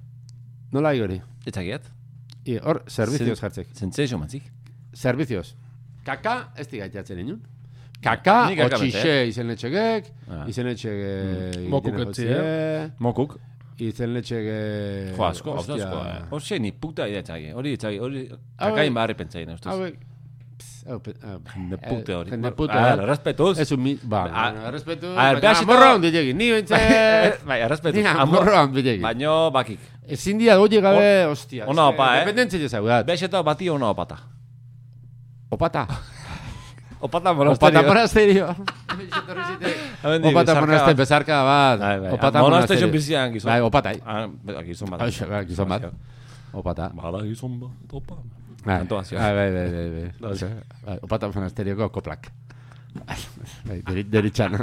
Speaker 3: nola igori.
Speaker 1: Etxakiat?
Speaker 3: I, hor,
Speaker 1: Zen-
Speaker 3: servizioz jartzek.
Speaker 1: Zentzei mantzik.
Speaker 3: Servizioz. Kaka, ez digaitatzen inun. Kaka, Mm.
Speaker 1: Nik kaka
Speaker 3: otxixe izen etxegek,
Speaker 1: Ah.
Speaker 3: izen etxegek...
Speaker 2: Mokuk etzi, eh?
Speaker 1: Mokuk.
Speaker 3: Izen letxege...
Speaker 1: Jo, asko, hau
Speaker 3: Hostia.
Speaker 1: asko. eh. Hor zein ni puta idea etxagi. Hori etxagi, hori
Speaker 3: Ah,
Speaker 1: kakain
Speaker 3: bai.
Speaker 1: barri pentsain, ustuz.
Speaker 3: Hauek... pss, hau pe- hau-
Speaker 1: De pute hori.
Speaker 3: Eh, De pute
Speaker 1: Ah,
Speaker 3: hori.
Speaker 1: respetuz.
Speaker 3: Ez un mi... Ba,
Speaker 1: Ah,
Speaker 3: bueno, respetu...
Speaker 1: ah,
Speaker 3: baina
Speaker 1: behasito-
Speaker 3: Amorro handi egin, ni bentze...
Speaker 1: Bai, errespetuz.
Speaker 3: Ni amorro handi egin.
Speaker 1: Baino bakik.
Speaker 3: Ezin dia goi gabe, hostia.
Speaker 1: Ona
Speaker 3: eske,
Speaker 1: opa, eh?
Speaker 3: Dependentzia jezau, da.
Speaker 1: Bexeta bati ona opata.
Speaker 3: Opata.
Speaker 1: Opata
Speaker 3: Opata
Speaker 1: monasterio.
Speaker 3: monasterio.
Speaker 1: Hemendik
Speaker 3: Opata
Speaker 1: bizarka
Speaker 3: monaste
Speaker 1: bat.
Speaker 3: bezarka bat.
Speaker 1: Bai, bai.
Speaker 3: Opata
Speaker 1: Monasterio
Speaker 3: monasterio.
Speaker 1: bizian gizon.
Speaker 3: Bai, opatai.
Speaker 1: Ah, be- gizon bat.
Speaker 3: Hauxe, bai, gizon bat. Opata.
Speaker 1: Bala gizon bat, topa.
Speaker 3: Bai,
Speaker 1: Kantua zio.
Speaker 3: bai, bai, bai, bai, bai.
Speaker 1: Hauxe.
Speaker 3: Bai, Opata monasterioko koplak. Bai, deri- Deritzana.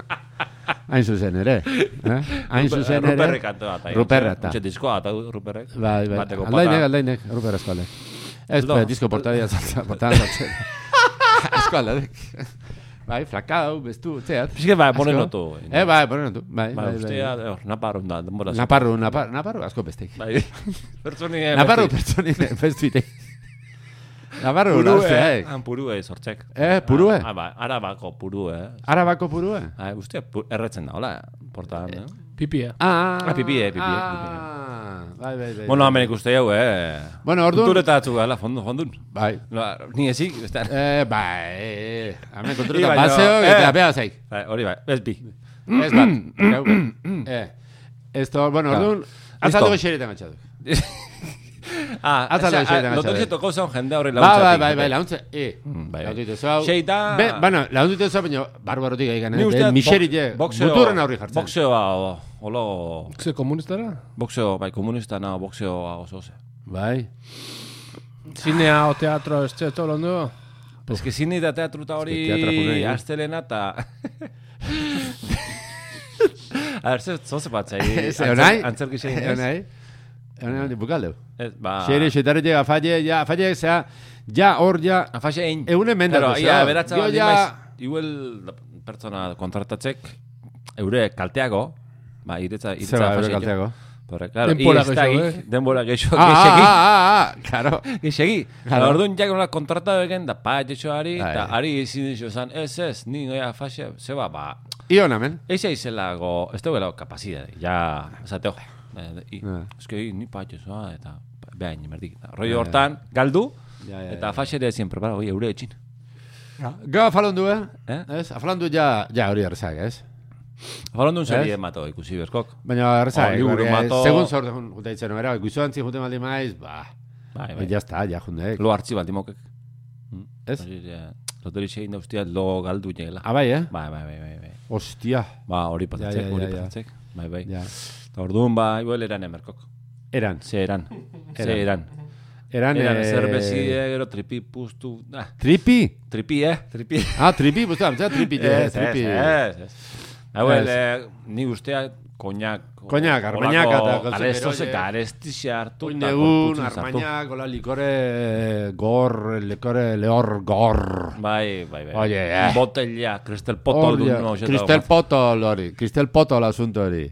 Speaker 3: Hain zuzen ere. Eh? Hain zuzen ere.
Speaker 1: Ruperrek kantua eta.
Speaker 3: Ruperra eta.
Speaker 1: Utxe diskoa eta ruperrek.
Speaker 3: Bai, bai.
Speaker 1: Bateko
Speaker 3: Aldainek,
Speaker 1: pata.
Speaker 3: aldainek, ruper asko alde. Ez,
Speaker 1: Aldo.
Speaker 3: bai, disko portaria zaltza, portaria
Speaker 1: [laughs]
Speaker 3: zaltzen. Asko aldadek. Bai, flakau, bestu, zeat.
Speaker 1: Pixka bai,
Speaker 3: Asko.
Speaker 1: monen notu.
Speaker 3: Eh, bai, bonen notu. Bai,
Speaker 1: Ba,
Speaker 3: bai,
Speaker 1: ustea,
Speaker 3: bai.
Speaker 1: hor, naparro da, denbora.
Speaker 3: Naparru, naparru, naparru asko bestek.
Speaker 1: Bai, [laughs] pertsoni... eh,
Speaker 3: Naparru pertsoni [laughs] bestuite. Naparru, eh.
Speaker 1: Purue,
Speaker 3: naustea,
Speaker 1: han purue sortzek.
Speaker 3: Eh, purue?
Speaker 1: Ah, ba, arabako purue. eh?
Speaker 3: Arabako purua?
Speaker 1: Ah, uste, pu- erretzen da, hola, portan, eh?
Speaker 2: Pipia.
Speaker 3: Ah,
Speaker 1: Ah, pipi, eh, pipi, eh, pipi.
Speaker 3: Ah, bai, bai, bai.
Speaker 1: Bueno, hemen ikuste jau, eh?
Speaker 3: Bueno, orduan-
Speaker 1: Kultureta atzuk, hala, fondun, fondun.
Speaker 3: Bai.
Speaker 1: No, ni ezik, bestan.
Speaker 3: Eh, bai,
Speaker 1: [laughs]
Speaker 3: hemen
Speaker 1: Ibai,
Speaker 3: konturetan
Speaker 1: no,
Speaker 3: baseo,
Speaker 1: eh.
Speaker 3: eta beha zaik.
Speaker 1: Bai, Hori bai, ez
Speaker 3: [laughs]
Speaker 1: bi.
Speaker 3: Ez bat.
Speaker 1: [coughs]
Speaker 3: Gau, eh. Esto, bueno,
Speaker 1: Claro.
Speaker 3: orduan, azaldu
Speaker 1: Listo.
Speaker 3: xeretan gatxatu.
Speaker 1: Ah,
Speaker 3: Azaldu
Speaker 1: esa- ah,
Speaker 3: xeetan
Speaker 1: Loteria
Speaker 3: gatzare.
Speaker 1: toko zan jende horri
Speaker 3: Ba,
Speaker 1: laguntzatik.
Speaker 3: ba, bai, bai, launtza, e,
Speaker 1: Mm, bai, bai.
Speaker 3: launtu itezu hau.
Speaker 1: Sei da-
Speaker 3: Be, bueno, launtu itezu hau, baina, barbarotik egin,
Speaker 1: Ni uste
Speaker 3: eh,
Speaker 1: dut
Speaker 3: miseri
Speaker 1: bok-
Speaker 3: je,
Speaker 1: boxeo-
Speaker 3: muturren aurri jartzen.
Speaker 1: Boxeoa, o- olo...
Speaker 2: Ze komunistara?
Speaker 1: Boxeo, bai, komunista nao, boxeoa oso oso.
Speaker 3: Bai.
Speaker 2: Zinea o teatro, ez txeto, londo.
Speaker 1: Ez que zine eta teatru eta
Speaker 3: Ez que teatro pure,
Speaker 1: hori
Speaker 3: eh?
Speaker 1: astelena eta... [laughs] A ber, ze- zoze
Speaker 3: [laughs]
Speaker 1: batzai.
Speaker 3: Ez, egonai?
Speaker 1: Eh,
Speaker 3: [laughs]
Speaker 1: Antzerki zein, ez?
Speaker 3: Egonai? Egonai, bukaldeu.
Speaker 1: Ez, ba...
Speaker 3: Xeri, xetare je, afalle, ja, afalle, zea, ja, hor, ja,
Speaker 1: Afaxe egin.
Speaker 3: Egun emendat,
Speaker 1: Claro,
Speaker 3: ez
Speaker 1: ia,
Speaker 3: da?
Speaker 1: beratza
Speaker 3: Gio,
Speaker 1: baldin
Speaker 3: ja-
Speaker 1: maiz, Iuel pertsona kontratatzek, eure kalteago, ba, iretza, iretza
Speaker 3: Zeba, eure
Speaker 1: afaxe egin.
Speaker 3: kalteago.
Speaker 1: Pero, claro,
Speaker 2: Denbora
Speaker 1: denbora gehiago,
Speaker 2: gehiago, eh?
Speaker 1: Denbora gehiago,
Speaker 3: ah, ah,
Speaker 1: gehiago.
Speaker 3: ah, ah, claro.
Speaker 1: Gixegi,
Speaker 3: Claro.
Speaker 1: claro. orduan jak nola kontrata egen, da pa ari,
Speaker 3: Bai.
Speaker 1: eta ari izin dixo zan, ez ez, ni noia fase, zeba, ba,
Speaker 3: Ion, amen.
Speaker 1: eixa izelago, ez duela kapazidade, ja, esateo,
Speaker 3: Bai.
Speaker 1: eh, i-
Speaker 3: Ja.
Speaker 1: eske i, ni pa etxoa, eta behain, merdik, eta rollo hortan, galdu,
Speaker 3: Bai, Ja, ja,
Speaker 1: eta fase ere ezin prepara, oi, eure etxin.
Speaker 3: Gau afalan du, eh?
Speaker 1: Eh?
Speaker 3: Ez, afalan du, ja, ja, hori erzak, ez?
Speaker 1: Falondun zari emato, ikusi berkok.
Speaker 3: Baina, erzak,
Speaker 1: Oh, liburu
Speaker 3: hori,
Speaker 1: mato.
Speaker 3: Segun sorte, guta itzen, bera, guizu antzi bai, juten baldin maiz, ba,
Speaker 1: Bai,
Speaker 3: bai,
Speaker 1: bai,
Speaker 3: ja está, ja, jundek.
Speaker 1: lo hartzi baltimokek.
Speaker 3: Ez?
Speaker 1: Loterixe egin dauztiat lo galdu negela.
Speaker 3: Ah, bai, eh?
Speaker 1: Bai, bai, bai, bai, bai.
Speaker 3: Ostia.
Speaker 1: Ba, hori
Speaker 3: Ja, ja,
Speaker 1: pasatzek,
Speaker 3: ja,
Speaker 1: hori
Speaker 3: ja.
Speaker 1: pasatzek. Bai, bai.
Speaker 3: Ja.
Speaker 1: Eta orduan, ba, igual eran emerkok.
Speaker 3: Eran.
Speaker 1: Ze eran. Ze eran.
Speaker 3: Eran,
Speaker 1: Eran
Speaker 3: eh,
Speaker 1: zerbezide, gero tripi puztu... Ah,
Speaker 3: Tripi?
Speaker 1: tripi, eh? [laughs] Tripi.
Speaker 3: Ah, tripi, pues da, ja, tripi, ja, tripi.
Speaker 1: ez, ez. Hauel,
Speaker 3: Ez.
Speaker 1: eh, ni ustea koñak...
Speaker 3: Koñak, armañaka eta
Speaker 1: eta...
Speaker 3: koltze
Speaker 1: Arestos
Speaker 3: beroiek.
Speaker 1: eta arestixea hartu.
Speaker 3: Oin
Speaker 1: eta
Speaker 3: egun,
Speaker 1: gorputzen sartu.
Speaker 3: armaña, gola likore, gor, likore, lehor, gor.
Speaker 1: Bai, bai, bai.
Speaker 3: Oie, eh.
Speaker 1: Botella, kristel potol
Speaker 3: Hor,
Speaker 1: du
Speaker 3: ja,
Speaker 1: no. xeta
Speaker 3: Kristel
Speaker 1: bat.
Speaker 3: potol hori, kristel potol asunto hori.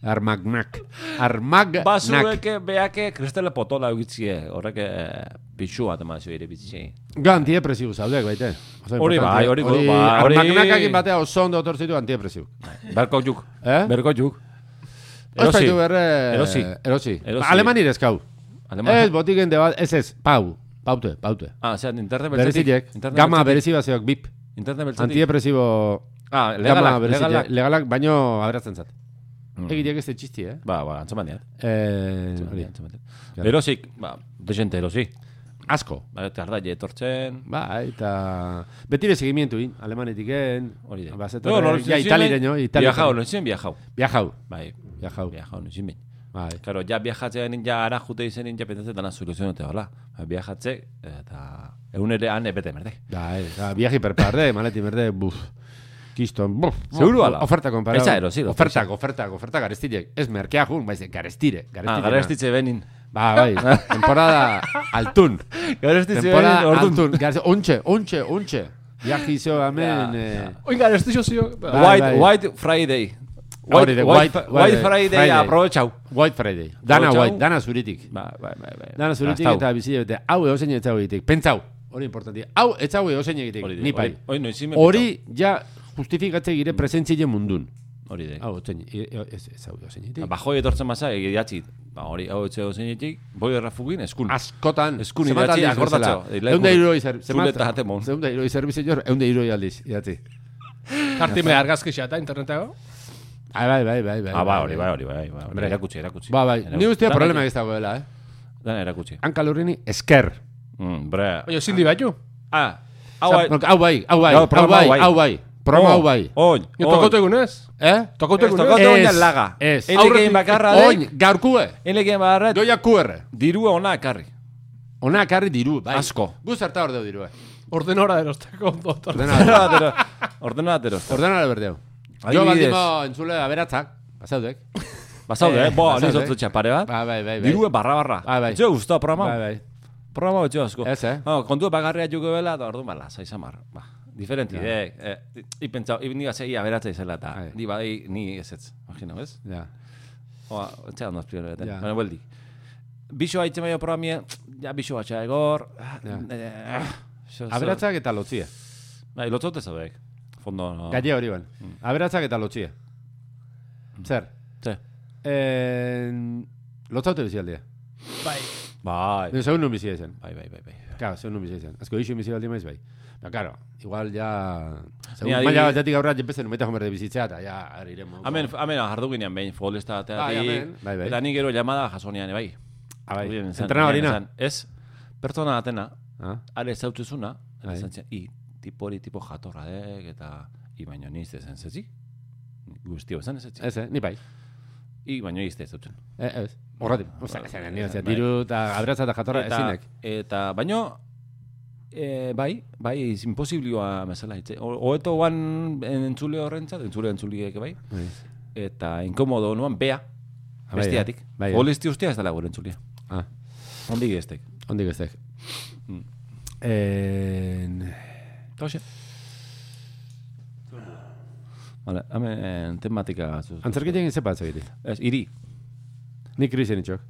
Speaker 3: Armagnak. Armagnak.
Speaker 1: Bazuek beake kristel potola egitzie. Horrek eh, bitxu bat eman zio ere bizitzei.
Speaker 3: Ga antidepresibu zaudek, baite. Oso
Speaker 1: Hori
Speaker 3: importante.
Speaker 1: bai, hori bai, hori-
Speaker 3: Armagnakakin batea oso ondo otortzitu antidepresibu.
Speaker 1: Berko juk.
Speaker 3: Eh?
Speaker 1: Berko juk.
Speaker 3: Ez
Speaker 1: Erosi.
Speaker 3: baitu berre...
Speaker 1: Erosi.
Speaker 3: Erosi.
Speaker 1: Erosi.
Speaker 3: Aleman irezkau.
Speaker 1: Aleman.
Speaker 3: Ez, botiken debaz, ez ez, pau. Paute, paute.
Speaker 1: Ah, zean, interne beltzetik.
Speaker 3: Berezilek,
Speaker 1: Interne
Speaker 3: gama
Speaker 1: beltzetik.
Speaker 3: berezi bazeok, bip.
Speaker 1: Interne beltzetik.
Speaker 3: Antidepresibo...
Speaker 1: Ah,
Speaker 3: gama
Speaker 1: legalak,
Speaker 3: berezilek.
Speaker 1: legalak. Mm.
Speaker 3: Legalak, baino abratzen zat. Egiteak ez da txisti, eh?
Speaker 1: Ba, ba, antzaman diat.
Speaker 3: Eh, hori, Claro.
Speaker 1: Erosik, ba, desente erosi.
Speaker 3: asko.
Speaker 1: Ba, tardaile etortzen,
Speaker 3: Ba, eta... Betire seguimiento, in, alemanetiken...
Speaker 1: hori da.
Speaker 3: Bazetorre, Ba, ja, italireño, italireño.
Speaker 1: Viajau, nontzien viajau.
Speaker 3: Viajau.
Speaker 1: Bai,
Speaker 3: Viajau.
Speaker 1: viajau, nontzien behin.
Speaker 3: Bai.
Speaker 1: Claro, ja viajatzen, ja ara jute izenin, ja pentsatzen dana soluzionate, hola. Ba, Viajatze, eta egun ere han eh, epete merde.
Speaker 3: Da, ez, da, viaje hiperperde, maleti berde, buf. Kiston, buf.
Speaker 1: Seguru ala.
Speaker 3: Oferta konparado.
Speaker 1: Esa erosi, lo
Speaker 3: Ofertak, ofertak, ofertak garestilek. Ez merkea jun, baiz, garestire.
Speaker 1: Ah,
Speaker 3: garestire
Speaker 1: gara estitze benin.
Speaker 3: Ba,
Speaker 1: [laughs]
Speaker 3: bai, temporada altun.
Speaker 1: Gara estitze
Speaker 3: Temporada
Speaker 1: benin, ordun.
Speaker 3: altun. Garest- Ontxe, ontxe, ontxe. Viaje izo, amen. eh,
Speaker 2: Oinga, ez txo zio.
Speaker 3: Ba,
Speaker 1: White,
Speaker 3: bai. Ah,
Speaker 1: White Friday.
Speaker 3: Hori
Speaker 1: White,
Speaker 3: da,
Speaker 1: White,
Speaker 3: White-
Speaker 1: White Friday,
Speaker 3: Friday.
Speaker 1: aprobetxau.
Speaker 3: White Friday. Dana
Speaker 1: Otxau.
Speaker 3: white, dana zuritik.
Speaker 1: Ba, bai, bai, bai.
Speaker 3: Dana zuritik
Speaker 1: Gastau.
Speaker 3: eta bizi bete. Hau eozein etzau egitek. Pentsau. Hori importantia. Hau etzau eozein egitek.
Speaker 1: Hori da,
Speaker 3: Ni pai.
Speaker 1: hori- hori noiz imen
Speaker 3: Hori, ja, justifikatze gire presentzile mundun.
Speaker 1: Hori da.
Speaker 3: Hau, eozein, ez, ez hau eozein egitek.
Speaker 1: Ba, Bajoi etortzen baza, egidatzi, ba, hori hau etxe dozeinetik, boi errafugin, eskun.
Speaker 3: askotan
Speaker 1: Eskun
Speaker 3: zenbat
Speaker 1: idatzi,
Speaker 3: aldiz
Speaker 1: akordatxo.
Speaker 3: bezala?
Speaker 1: Leku-
Speaker 3: Ehun da hirurogei zer-
Speaker 1: Zule
Speaker 3: zenbat-
Speaker 1: eta jatemon.
Speaker 3: Ehun da hirurogei zerbitzu jor, ehun da hirurogei aldiz idatzi.
Speaker 2: Tartime argazki xata, internetago.
Speaker 3: Ah, bai, bai, bai, bai,
Speaker 1: Ah, ba,
Speaker 3: bai,
Speaker 1: hori,
Speaker 3: bai.
Speaker 1: bai, hori, bai, bai, hori, erakutsi, erakutsi.
Speaker 3: Ba, bai. Ni ustea
Speaker 1: Dana-
Speaker 3: problema ez dagoela, eh?
Speaker 1: Dana erakutsi.
Speaker 3: Hanka Lurrini esker.
Speaker 1: Mm, bre.
Speaker 2: Oio, zindi baitu.
Speaker 1: Ah, hau,
Speaker 3: Zap- Hau bai, hau bai,
Speaker 1: Gau,
Speaker 3: hau
Speaker 1: programa
Speaker 3: bai,
Speaker 1: hau bai.
Speaker 3: hau bai. Programa hau bai.
Speaker 1: Oin,
Speaker 2: Ni tokoto egunez.
Speaker 3: Eh?
Speaker 2: Tokoto
Speaker 1: Ez,
Speaker 2: egunez.
Speaker 1: tokoto- Gaur
Speaker 3: Ez,
Speaker 1: egon laga.
Speaker 3: ez.
Speaker 1: Ele
Speaker 3: Aurretik-
Speaker 1: egin bakarra dek.
Speaker 3: Oin, gaurkue.
Speaker 1: Elegean barra,
Speaker 3: Doia QR.
Speaker 1: dirua ona [laughs] ekarri.
Speaker 3: Ona ekarri diru, bai.
Speaker 1: Asko.
Speaker 3: Gu zerta hor deu diru, eh?
Speaker 2: Ordenora erosteko. Bai,
Speaker 3: [laughs] Ordena-
Speaker 1: Zerra bat ero- Ordena bat erosten.
Speaker 3: Ordena berdeu. Jo
Speaker 1: Adibidez.
Speaker 3: baldimo entzule aberatzak,
Speaker 1: [laughs]
Speaker 3: bazaudek.
Speaker 1: Bazaude, eh?
Speaker 3: Eh,
Speaker 1: Boa, niz
Speaker 3: bazaude.
Speaker 1: otzu txapare bat.
Speaker 3: Ba, bai, bai, bai.
Speaker 1: Dirue barra barra.
Speaker 3: Bai, bai.
Speaker 1: Etxe guztua
Speaker 3: Bai,
Speaker 1: programa.
Speaker 3: bai.
Speaker 1: Programa etxe asko.
Speaker 3: Ez, eh?
Speaker 1: No, kontua bagarria juko bela, da ordu mala, saizamar. Ba, diferenti, eh? eh Ipentzau, ibin diga zei aberatza izela eta.
Speaker 3: Bai.
Speaker 1: Di badei, ni ez ez. Imagina, bez?
Speaker 3: Ja.
Speaker 1: Oa, etxe ondo azpio nire,
Speaker 3: Ja.
Speaker 1: baina bueldi. Bixo haitzen maio programia, ja, bixo batxa egor.
Speaker 3: Ja.
Speaker 1: eh, xo- xo-
Speaker 3: Aberatzak eta lotzia.
Speaker 1: Bai, lotzote zaudek. Fondo, no.
Speaker 3: Galle hori ban. Aberatzak eta lotzia.
Speaker 1: Mm.
Speaker 3: Zer?
Speaker 1: Ze.
Speaker 3: Eh, lotzaute bizi aldia.
Speaker 2: Bai.
Speaker 1: Bai.
Speaker 3: Neu zeun nun bizi izan.
Speaker 1: Bai, bai, bai, bai.
Speaker 3: Claro, zeun nun bizi izan. Azko isu bizi aldi maiz bai. Ba, claro, igual ja... Segun
Speaker 1: Ni
Speaker 3: maila
Speaker 1: adibidez-
Speaker 3: batetik aurra jepezen numeita jomer de bizitzea, eta ja, ari iremo.
Speaker 1: Hemen, hemen jarduginean behin futbolista
Speaker 3: Bai,
Speaker 1: bateatik.
Speaker 3: hemen. Bai, bai.
Speaker 1: Eta nik gero llamada jasonean, bai.
Speaker 3: Ah, bai.
Speaker 1: Horien izan,
Speaker 3: Entrenabarina.
Speaker 1: horien izan. Ez, pertsona atena,
Speaker 3: Ah,
Speaker 1: ale zautzezuna,
Speaker 3: Bai.
Speaker 1: ale zantzian, i, tipo hori tipo jatorra dek, eta i baino niz dezen zetzik. Guztio esan ez zetzik.
Speaker 3: ez, eh, ni bai.
Speaker 1: I baino izte ez zautzen.
Speaker 3: Eh, ez. Horretik. Osa, ez, nire,
Speaker 1: Bai.
Speaker 3: diru eta aberatza eta jatorra ezinek.
Speaker 1: eta baino, e, bai, bai, iz- imposiblioa mesela hitze. O- Hoeto guan entzule horrentzat, entzule entzuliek bai,
Speaker 3: Bai.
Speaker 1: eta inkomodo nuan bea,
Speaker 3: Ah, bai,
Speaker 1: bestiatik.
Speaker 3: eh? Bai, eh?
Speaker 1: Holisti ustea ez dela gure entzulia.
Speaker 3: Ah,
Speaker 1: Ondik eztek.
Speaker 3: ondik ez dek.
Speaker 1: Mm.
Speaker 3: En...
Speaker 1: Eta hoxe. Vale, hemen eh, tematika zuz.
Speaker 3: Antzerkitzen egin zepa atzegiti.
Speaker 1: Ez, iri.
Speaker 3: Ni krisen itxok.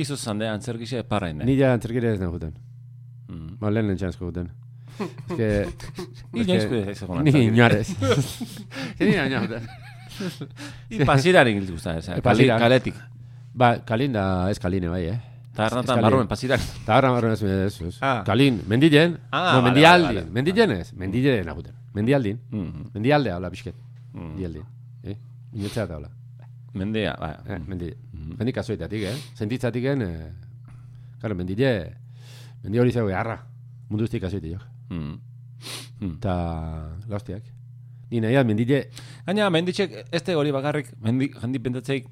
Speaker 1: Izu zande antzerkixe parrain.
Speaker 3: Ni ja antzerkire ez nahi juten.
Speaker 1: eh? Mm.
Speaker 3: Ba, lehen lentsanezko
Speaker 1: [laughs]
Speaker 3: juten. Ez que...
Speaker 1: Ni
Speaker 3: es
Speaker 1: noiz
Speaker 3: que-
Speaker 1: ez egon
Speaker 3: Ni
Speaker 1: antzerkire. [laughs]
Speaker 3: inoarez. Ni inoarez juten.
Speaker 1: Ni pasiraren giltu guztan, ez.
Speaker 3: pasiran.
Speaker 1: Kaletik.
Speaker 3: Ba, kalin da ez kaline bai, eh?
Speaker 1: Eta
Speaker 3: Ez
Speaker 1: ernatan
Speaker 3: kalin.
Speaker 1: barruen pasiraren.
Speaker 3: Eta horra barren ez, ez, ez.
Speaker 1: Ah.
Speaker 3: Kalin, mendilen.
Speaker 1: Ah,
Speaker 3: no,
Speaker 1: vale,
Speaker 3: mendialdin.
Speaker 1: vale, vale.
Speaker 3: Mendilen ez, mendilen aguten. Mendialdin.
Speaker 1: Mhm.
Speaker 3: Mendialde habla pixket. Mendialdin. Eh? Inotzea eta habla.
Speaker 1: mm. Mendea, bai.
Speaker 3: Eh, mendile. Mendik azoitatik, eh? Sentitzatik, eh? Claro, mendile... Mendi hori zeu harra. Mundu guztik azoite jok.
Speaker 1: Mm.
Speaker 3: Eta laustiak. Ni nahi da mendile...
Speaker 1: Gaina, menditxek, ez da hori bakarrik, mendi, jendi pentsatzeik,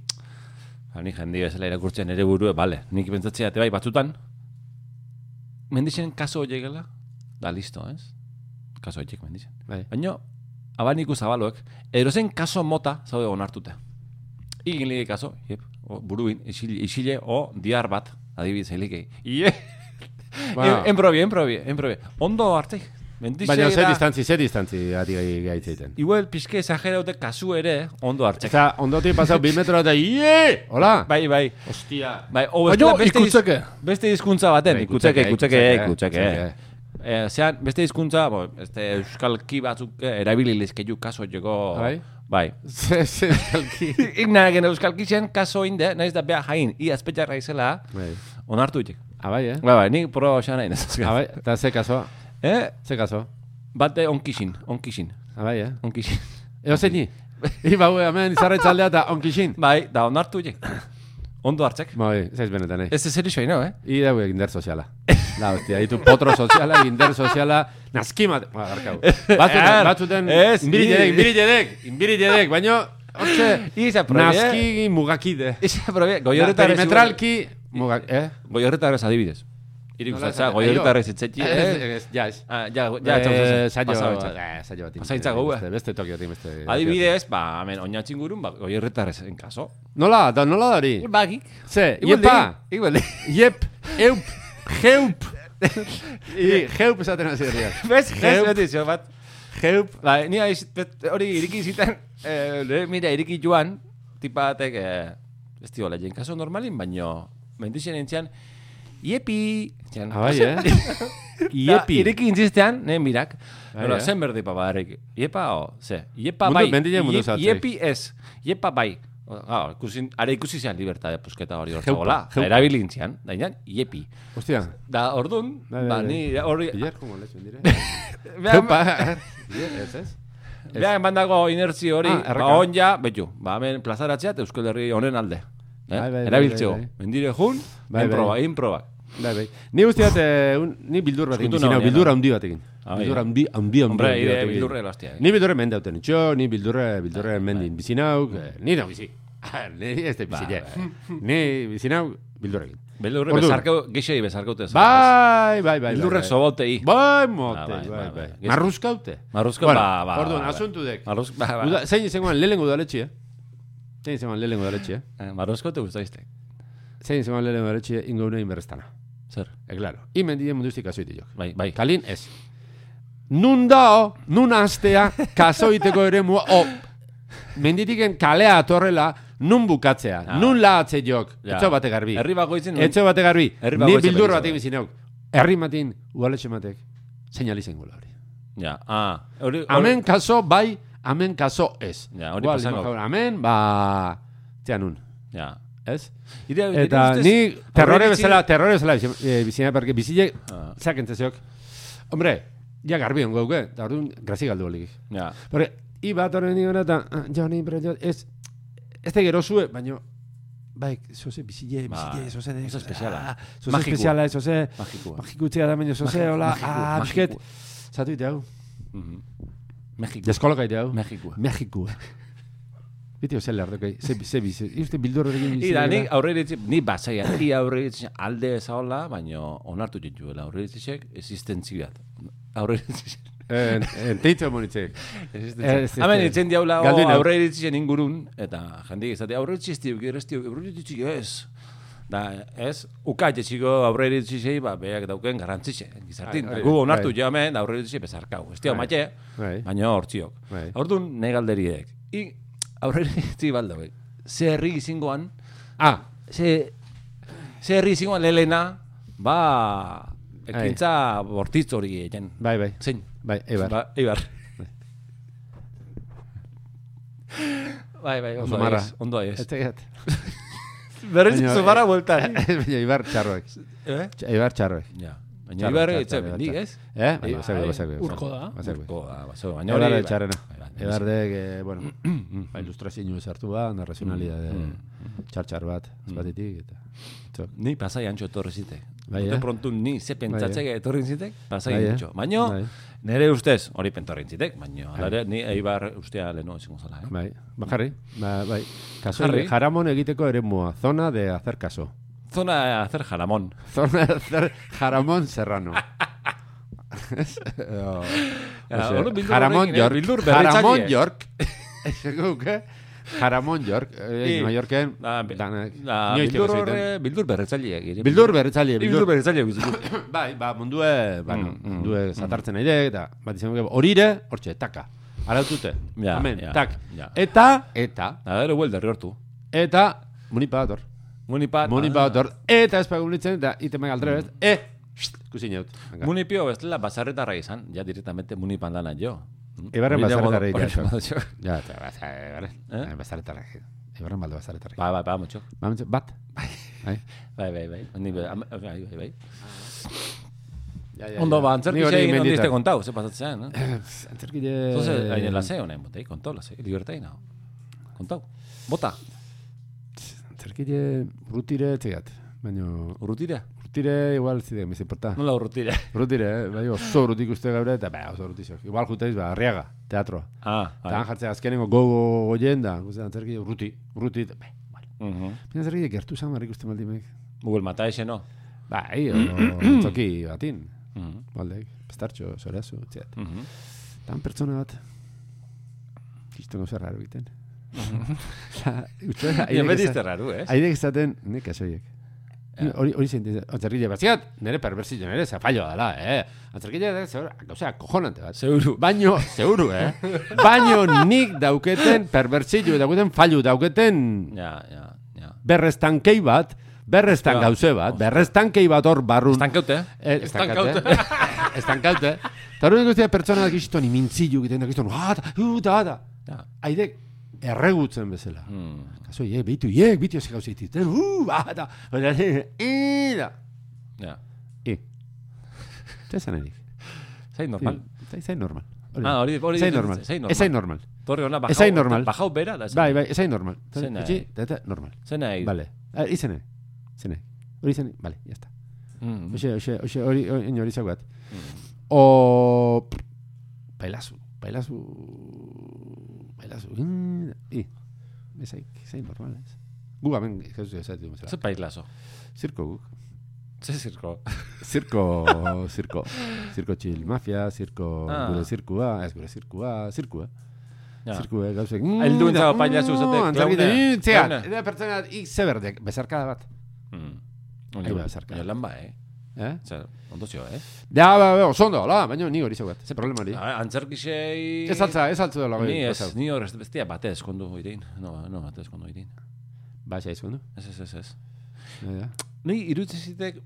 Speaker 1: ba, nik jendi bezala irakurtzen ere burue, bale, nik pentsatzea, te bai, batzutan, menditxen kaso horiek gela, da listo, ez? Kaso horiek menditxen.
Speaker 3: Bai.
Speaker 1: Baina, abaniku zabaloek, erozen kaso mota zaude onartuta. Igin lige kaso, jep, o, buruin, isile, isile, o, diar bat, adibidez, helikei. [laughs] Ie,
Speaker 3: Ba,
Speaker 1: enprobi, enprobi, enprobi. Ondo hartzik, menditxek
Speaker 3: baina ze
Speaker 1: era-
Speaker 3: distantzi, ze distantzi gati gaitzeiten.
Speaker 1: Igual, pixke esagerote kasu ere, ondo hartzek.
Speaker 3: Eta ondotik pasau bi metro eta ie! Hola!
Speaker 1: Bai, bai.
Speaker 3: Hostia!
Speaker 1: Bai, o
Speaker 2: Baina,
Speaker 1: bestela beste, iz-
Speaker 2: ikutzeke.
Speaker 1: beste hizkuntza baten,
Speaker 3: Bai,
Speaker 1: ikutzeke,
Speaker 3: ikutzeke,
Speaker 1: ikutzeke,
Speaker 3: ikutzeke,
Speaker 1: ikutzeke. Eh, zean, beste hizkuntza, bo, este euskalki batzuk eh, erabili lizkeiu kaso joko.
Speaker 3: Bai?
Speaker 1: Bai.
Speaker 3: Ze, ze, alki.
Speaker 1: Igna egen euskalki zen kaso inde, naiz da bea jain, i azpetxarra izela,
Speaker 3: Bai.
Speaker 1: onartu itek.
Speaker 3: Abai, eh?
Speaker 1: Bai, bai, nik proba xan nahi nezazka.
Speaker 3: Abai, eta ze kasoa,
Speaker 1: Eh,
Speaker 3: ze kasoa.
Speaker 1: bate onkixin, onkixin,
Speaker 3: Abai, eh?
Speaker 1: onkixin.
Speaker 3: Eo zein ni? Iba, ue, hemen izarretzaldea eta onkixin.
Speaker 1: Bai, da onartu itek. Ondo hartzek.
Speaker 3: Bai, zaiz benetan, eh?
Speaker 1: Ez ez erixo ino, eh?
Speaker 3: I daue ginder soziala. La, hostia, ditu potro soziala, ginder soziala, naskimate. Ba, garkau. Batzuten,
Speaker 1: Er,
Speaker 3: batzuten,
Speaker 1: ez,
Speaker 3: inbiriledek,
Speaker 1: ni-
Speaker 3: inbiriledek, inbiriledek, baino, hortxe,
Speaker 1: Iza probie.
Speaker 3: naski mugakide.
Speaker 1: Iza probie,
Speaker 3: Ja,
Speaker 1: goiorretarrez.
Speaker 3: Perimetralki, mugak, eh?
Speaker 1: Goiorretarrez adibidez. Irik
Speaker 3: Nola
Speaker 1: ustatza,
Speaker 3: esaten?
Speaker 1: goiorretarrez
Speaker 3: [laughs]
Speaker 1: etzetxi, eh?
Speaker 3: Ez, ez, ja, ez.
Speaker 1: Ah, ja, ja,
Speaker 3: Eh,
Speaker 1: ja,
Speaker 3: saio,
Speaker 1: ja,
Speaker 3: eh, saio bat.
Speaker 1: Pasaitza gaua.
Speaker 3: Beste- Beste tokiotik, beste.
Speaker 1: Adibidez, ba, hemen oinatzen gurun, ba, goi herritarrez en kaso.
Speaker 3: Nola, da, nola da hori?
Speaker 1: Bagik.
Speaker 3: Ze,
Speaker 1: Igualdi,
Speaker 3: iepa,
Speaker 1: igualdi.
Speaker 3: Yep, eup, [laughs]
Speaker 1: [laughs]
Speaker 3: geup. I, geup esaten hasi herria.
Speaker 1: Bez,
Speaker 3: Geup.
Speaker 1: ez beti zio bat.
Speaker 3: Geup.
Speaker 1: Ba, ni haiz, bet- hori iriki zitan, eh, nire mira iriki joan, tipa batek, eh, ez diola jen kaso normalin, baino, mendixen entzian, iepi, entzian, [laughs]
Speaker 3: Abai, eh?
Speaker 1: Da,
Speaker 3: Iepi.
Speaker 1: ireki intzistean, ne mirak.
Speaker 3: Bai,
Speaker 1: Nola,
Speaker 3: eh?
Speaker 1: zen berdi papa barreki. Iepa, o, ze. Iepa
Speaker 3: Mundu-
Speaker 1: bai.
Speaker 3: mendile mundu
Speaker 1: Ie-
Speaker 3: zahartzei.
Speaker 1: Iepi ez. Iepa bai. O, Ah, ikusi, are ikusi zean libertade pusketa hori hor
Speaker 3: Jeupa,
Speaker 1: zegoela.
Speaker 3: jeupa.
Speaker 1: Erabilin zean, dainan, iepi.
Speaker 3: Hostia.
Speaker 1: Da, ordun,
Speaker 3: Bai, bai,
Speaker 1: ba,
Speaker 3: bai.
Speaker 1: ni hori... ah, ba,
Speaker 3: Biler, como lezu [laughs] indire.
Speaker 1: Beha-
Speaker 3: Geupa. Ie, Ez, ez?
Speaker 1: Beha eman dago inertzi ba, hori,
Speaker 3: Ah, erreka.
Speaker 1: ba, on ja, betu, ba, hemen plazaratzea, eta Euskal Herri honen alde. Eh?
Speaker 3: Bai, bai, bai,
Speaker 1: Erabiltzeo.
Speaker 3: bai, bai.
Speaker 1: Mendire jun,
Speaker 3: Bai, bai.
Speaker 1: inproba, inproba.
Speaker 3: Bai, bai. Ni uste dut, eh, un- ni bildur bat egin.
Speaker 1: Eskutuna
Speaker 3: zinau,
Speaker 1: hori,
Speaker 3: Bildur
Speaker 1: no?
Speaker 3: handi bat egin.
Speaker 1: Ah,
Speaker 3: Bildur
Speaker 1: bai.
Speaker 3: handi, handi, handi.
Speaker 1: Hombre,
Speaker 3: handi bat
Speaker 1: ide
Speaker 3: egin.
Speaker 1: bildurre lastia. eh?
Speaker 3: Ni bildurre mende hauten itxo, ni bildurre, bildurre mendin
Speaker 1: Ba,
Speaker 3: bizinauk, eh, ni da bizi. Ah, Ni ez da bizi, je. Ni bizinauk, bildurrekin.
Speaker 1: Beldurre
Speaker 3: Ordu.
Speaker 1: bezarkau, geixei bezarkaute.
Speaker 3: Bai, bai, bai.
Speaker 1: Beldurre
Speaker 3: bai.
Speaker 1: sobautei.
Speaker 3: Bai, mote,
Speaker 1: Ah,
Speaker 3: bai, bai. bai.
Speaker 1: bai.
Speaker 3: Marruskaute.
Speaker 1: Marruska,
Speaker 3: Bueno,
Speaker 1: ba, ba.
Speaker 3: Orduan,
Speaker 1: ba, ba.
Speaker 3: asuntu dek.
Speaker 1: Marruska, ba, ba.
Speaker 3: Uda, zein izango lehenengo udaletxia? Zein izango lehenengo udaletxia?
Speaker 1: Eh, Marruska te gustaizte.
Speaker 3: Zein izango lehenengo udaletxia ingo unein berreztana.
Speaker 1: Zer,
Speaker 3: E, claro. Imen dien munduztik kasu itijok.
Speaker 1: bai, bai.
Speaker 3: Kalin, ez. Nun dao, nun astea, kasoiteko ere mua, o, menditiken kalea atorrela, nun bukatzea,
Speaker 1: Ah.
Speaker 3: nun laatze jok.
Speaker 1: Ja.
Speaker 3: Etxo bate garbi.
Speaker 1: Herri bakoitzen...
Speaker 3: Etxo bate garbi.
Speaker 1: Herri
Speaker 3: Ni
Speaker 1: bakoitza
Speaker 3: bildur
Speaker 1: pentsatu.
Speaker 3: batek bizineuk. Herri matin, udaletxe matek, seinalizen gula hori.
Speaker 1: Ja, ah. Hori, hori-
Speaker 3: Amen kaso bai, amen kaso ez.
Speaker 1: Ja, hori
Speaker 3: Igual,
Speaker 1: pasango.
Speaker 3: lima jaun, Amen, ba... Tia nun,
Speaker 1: Ja.
Speaker 3: ez?
Speaker 1: Ire, ire
Speaker 3: Eta
Speaker 1: ustez-
Speaker 3: ni terrore
Speaker 1: aurreiritzi-
Speaker 3: bezala, terrore bezala bizi- eh, bizina, porque bizile,
Speaker 1: Ah.
Speaker 3: zakentzeziok. Hombre, ja garbi ongo gauke, eta orduan grazi galdu holik.
Speaker 1: Ja,
Speaker 3: Porque, iba torren nioen eta, ah, Johnny, pero yo, ez, ez te gerozue, baino, bai, zoze bizile,
Speaker 1: Ba,
Speaker 3: bizile, zoze,
Speaker 1: oso espeziala.
Speaker 3: Ah, zoze
Speaker 1: Magikoa.
Speaker 3: espeziala, zoze,
Speaker 1: Magikoa.
Speaker 3: magikutzea da, baino, zoze,
Speaker 1: Magiko-
Speaker 3: hola,
Speaker 1: magikoa,
Speaker 3: ah, bizket,
Speaker 1: magikoa.
Speaker 3: zatu ite hau,
Speaker 1: Mhm. Mexiko.
Speaker 3: deskolokaitea hau.
Speaker 1: Mexikoa. [laughs]
Speaker 3: Mexiko. Beti ozel lardokei, ze, ze, ze, uste bildurrekin bizi.
Speaker 1: Ida,
Speaker 3: dela.
Speaker 1: nik aurreiritzi, ni bazaia, ni aurreiritzi alde ezaola, baino onartu dituela aurreiritzek existentziat. Aurreiritzi.
Speaker 3: Eh, Enteitza monitzek. Ez, ez,
Speaker 1: Existentzia. Hemen
Speaker 3: ez.
Speaker 1: itzen diaula
Speaker 3: Galdu nau.
Speaker 1: aurreiritzen ingurun, eta jendik izate, aurreiritzi, aurreiritzi, aurreiritzi, ez. Da, ez, ukaitetxiko txiko aurreiritzei, ba, beak dauken garrantzixe, gizartin.
Speaker 3: Bai, hori da,
Speaker 1: Gu onartu
Speaker 3: bai.
Speaker 1: ja hemen aurreiritzi bezarkau. Ez dio,
Speaker 3: Bai.
Speaker 1: mate,
Speaker 3: Bai.
Speaker 1: baina hortziok.
Speaker 3: Bai.
Speaker 1: Orduan, nahi galderiek. I, aurreiritzi baldauek. Ze herri izingoan,
Speaker 3: Ah,
Speaker 1: ze, ze herri zingoan lehelena, ba, ekintza bortitz hori egiten.
Speaker 3: bai, bai.
Speaker 1: Zein?
Speaker 3: Bai, Eibar.
Speaker 1: Ba, eibar. [laughs] bai, bai, ondo
Speaker 3: Zumarra.
Speaker 1: aiz, ondo aiz.
Speaker 3: Ez tegat.
Speaker 1: Berriz
Speaker 3: Baina,
Speaker 1: zumarra
Speaker 3: eh,
Speaker 1: bueltan.
Speaker 3: [laughs] Baina Eibar txarroek.
Speaker 1: Eh?
Speaker 3: Tx- Eibar txarroek.
Speaker 1: Ja. Baina
Speaker 3: Txarroek,
Speaker 1: eibar
Speaker 3: txarroek,
Speaker 1: etxe
Speaker 3: txarroek,
Speaker 1: nik, ez?
Speaker 3: txarroek. Eh? Baina, bazeko, bazeko.
Speaker 2: Urko da.
Speaker 3: Bazeko.
Speaker 1: Urko, ah, baso, baina hori...
Speaker 3: Eibar
Speaker 1: bai.
Speaker 3: txarrena.
Speaker 1: Bai, bai,
Speaker 3: Eibar dek, eh, [clears throat] bueno, ba, ilustrazio sartu ba, narrazionalidade txar-txar bat, ez batetik, eta... Txok.
Speaker 1: Ni pasai antxo etorri zitek.
Speaker 3: Bai,
Speaker 1: Bai,
Speaker 3: eh?
Speaker 1: prontu ni ze pentsatzek etorri zitek, pasai
Speaker 3: Bai, eh?
Speaker 1: antxo. Baina,
Speaker 3: Bai.
Speaker 1: nire ustez, hori pentorri zitek, baina, alare, ni eibar ustea lehenu ezingo zala, eh?
Speaker 3: Bai, ba, jarri, ba, bai. Kaso,
Speaker 1: Jarri.
Speaker 3: jaramon egiteko ere mua, zona de hacer caso.
Speaker 1: Zona hacer jaramon.
Speaker 3: Zona de hacer jaramon serrano. Edo-
Speaker 1: Ja,
Speaker 3: Ose,
Speaker 1: hori bildur horrekin,
Speaker 3: jaramon
Speaker 1: eh?
Speaker 3: York.
Speaker 1: Bildur berritzakie.
Speaker 3: jaramon York. [laughs] Esango nuke, jaramon York. Eh,
Speaker 1: Eh,
Speaker 3: New Yorken,
Speaker 1: Da, be-
Speaker 3: danak,
Speaker 1: da,
Speaker 3: inoiz
Speaker 1: bildur
Speaker 3: ikasi duten.
Speaker 1: horre, bildur berretzaileak. ire.
Speaker 3: Bildur berritzaile,
Speaker 1: Bildur
Speaker 3: bildur.
Speaker 1: berretzaileak. bizitu.
Speaker 3: Bai, ba, mundue,
Speaker 1: Mm,
Speaker 3: ba, no, mundue zatartzen nahi dek, eta bat izan nuke, horire, hortxe, taka. Arautute.
Speaker 1: Ja,
Speaker 3: Amen,
Speaker 1: ja,
Speaker 3: tak.
Speaker 1: ja.
Speaker 3: Eta, eta,
Speaker 1: Da, gero huelda hortu.
Speaker 3: eta, munipa dator.
Speaker 1: Munipat.
Speaker 3: Moni bat hor, eta ez pagulitzen, da, itemak aldrebez,
Speaker 1: Mm.
Speaker 3: e, pst, ikusi naut.
Speaker 1: Munipio bestela bazarretarra izan, ja direktamente munipan lana jo.
Speaker 3: Ebarren
Speaker 1: Nire
Speaker 3: bazarretarra
Speaker 1: modu-
Speaker 3: ikaso.
Speaker 1: hori modu-
Speaker 3: Ja, Bai, eta baza- ebarren,
Speaker 1: Eh?
Speaker 3: bazarretarra. Ebarren balde bazarretarra.
Speaker 1: Bai, bai, bai, mutxo.
Speaker 3: Mamentxe, bat? Ba. Bai.
Speaker 1: Bai, bai, bai. Ni be- am- Bai, bai, bai.
Speaker 3: Ja, ja,
Speaker 1: Ondo,
Speaker 3: ja.
Speaker 1: ba,
Speaker 3: Ni
Speaker 1: antzerki
Speaker 3: hori
Speaker 1: zein, ondi
Speaker 3: mendietan.
Speaker 1: izte kontau, ze pasatzean, no?
Speaker 3: Antzerkile...
Speaker 1: Zoze, haine lase honen, botei, kontau, lase, libertai nao. Kontau. Bota,
Speaker 3: Antzerkile urrutire etzigat. Baina
Speaker 1: urrutira.
Speaker 3: urrutire igual zidek, mis importa.
Speaker 1: Nola urrutira?
Speaker 3: Urrutire, eh? bai, oso urrutik uste gaur eta bai, oso urrutizok. Igual juteiz, ba, arriaga, teatroa.
Speaker 1: [laughs] Ah,
Speaker 3: Eta
Speaker 1: bai.
Speaker 3: han jartzea azkenengo gogo goien da, guzti antzerkile urruti, urruti, eta bai, bai.
Speaker 1: Mhm.
Speaker 3: Baina antzerkile gertu zan barrik uste maldimek.
Speaker 1: Google mata ese, no?
Speaker 3: Bai,
Speaker 1: Mm-hmm.
Speaker 3: edo toki batin.
Speaker 1: Mhm,
Speaker 3: Baldek, pestartxo, zorazu, txet.
Speaker 1: mhm.
Speaker 3: Tan pertsona bat, kistongo zer raro egiten. Ta, uste,
Speaker 1: Ia Mm-hmm. beti
Speaker 3: aidek
Speaker 1: izte
Speaker 3: esan-
Speaker 1: raru, ez?
Speaker 3: aidek esaten, nek kasoiek. Ni Hori hori zein dizen, antzerkile bat, zigat, nire perbersio nire zafallo dela, eh? Antzerkile da, zer, gauza, kojonante bat.
Speaker 1: [laughs] Zeuru.
Speaker 3: Baino, zeuru, eh? Baino nik dauketen perbersio, dauketen fallu, dauketen
Speaker 1: Ja, ja, ja.
Speaker 3: berrestankei bat, berrestan
Speaker 1: Ostia,
Speaker 3: gauze bat, berrestankei bat hor barrun.
Speaker 1: Estankaute, eh?
Speaker 3: Eh, Estankaute. [laughs] Estankaute. Eta hori guztia pertsona da kiston imintzilu egiten da kiston, ah, da, uh, da, da.
Speaker 1: Ja.
Speaker 3: Aidek, erregutzen bezala.
Speaker 1: Mm.
Speaker 3: Kaso, je, bitu, je, bitu ez gauze dituzten, uh, ba, da, Baina, eh, eh, da.
Speaker 1: Ja.
Speaker 3: I. Eta ezan erik.
Speaker 1: Zain normal.
Speaker 3: Zain normal.
Speaker 1: Ah, hori- hori-
Speaker 3: Zain normal.
Speaker 1: zain normal.
Speaker 3: Ezain normal.
Speaker 1: Torre ona bajau.
Speaker 3: Ez hain normal.
Speaker 1: Bajau bera da.
Speaker 3: Bai, bai, ezain normal.
Speaker 1: Zein nahi. Bai.
Speaker 3: Itxi, Eta eta normal.
Speaker 1: Zena egin.
Speaker 3: Vale. Ah, Izene. Izene. Hori izene. Vale, ya está.
Speaker 1: Mm.
Speaker 3: Oxe, oxe, oxe, hori, hori, hori zaukat. O... Bailazu, bailazu... Bailazu... I, ezaik, ezaik normal, ez? Gu hemen, jesu esatu dugu bezala.
Speaker 1: Ze país lazo.
Speaker 3: Zirko guk.
Speaker 1: Ze
Speaker 3: [laughs]
Speaker 1: zirko. [laughs]
Speaker 3: Zirko, zirko. Zirko chill mafia, zirko
Speaker 1: Ah.
Speaker 3: gure zirkua, ez gure zirkua, zirkua. mm,
Speaker 1: Ja.
Speaker 3: Zirkua, gauzek.
Speaker 1: Heldu entzago pailazu
Speaker 3: mm,
Speaker 1: zatek, klaunea,
Speaker 3: Zergite, zeat,
Speaker 1: klaunea.
Speaker 3: eta pertsona, ik zeberdek, bezarkada bat.
Speaker 1: Mm.
Speaker 3: Ahí va, zarka.
Speaker 1: Baina lan ba, eh?
Speaker 3: Eh?
Speaker 1: Zer, ondo zio, eh?
Speaker 3: Da, ba, ba, oso ondo, la, baina ni hori zeu bat, ze problema hori.
Speaker 1: Ah, Antzerkixei...
Speaker 3: Ez altza, ez bai, altza dela
Speaker 1: Ni
Speaker 3: hori.
Speaker 1: ez, ni hor, ez bestia batez kondu irin. No, no, batez kondu irin. Bai,
Speaker 3: Ba, xa izan, no?
Speaker 1: Ez, ez, ez, ez. Bai,
Speaker 3: Ja, ja.
Speaker 1: Ni irutzen zitek...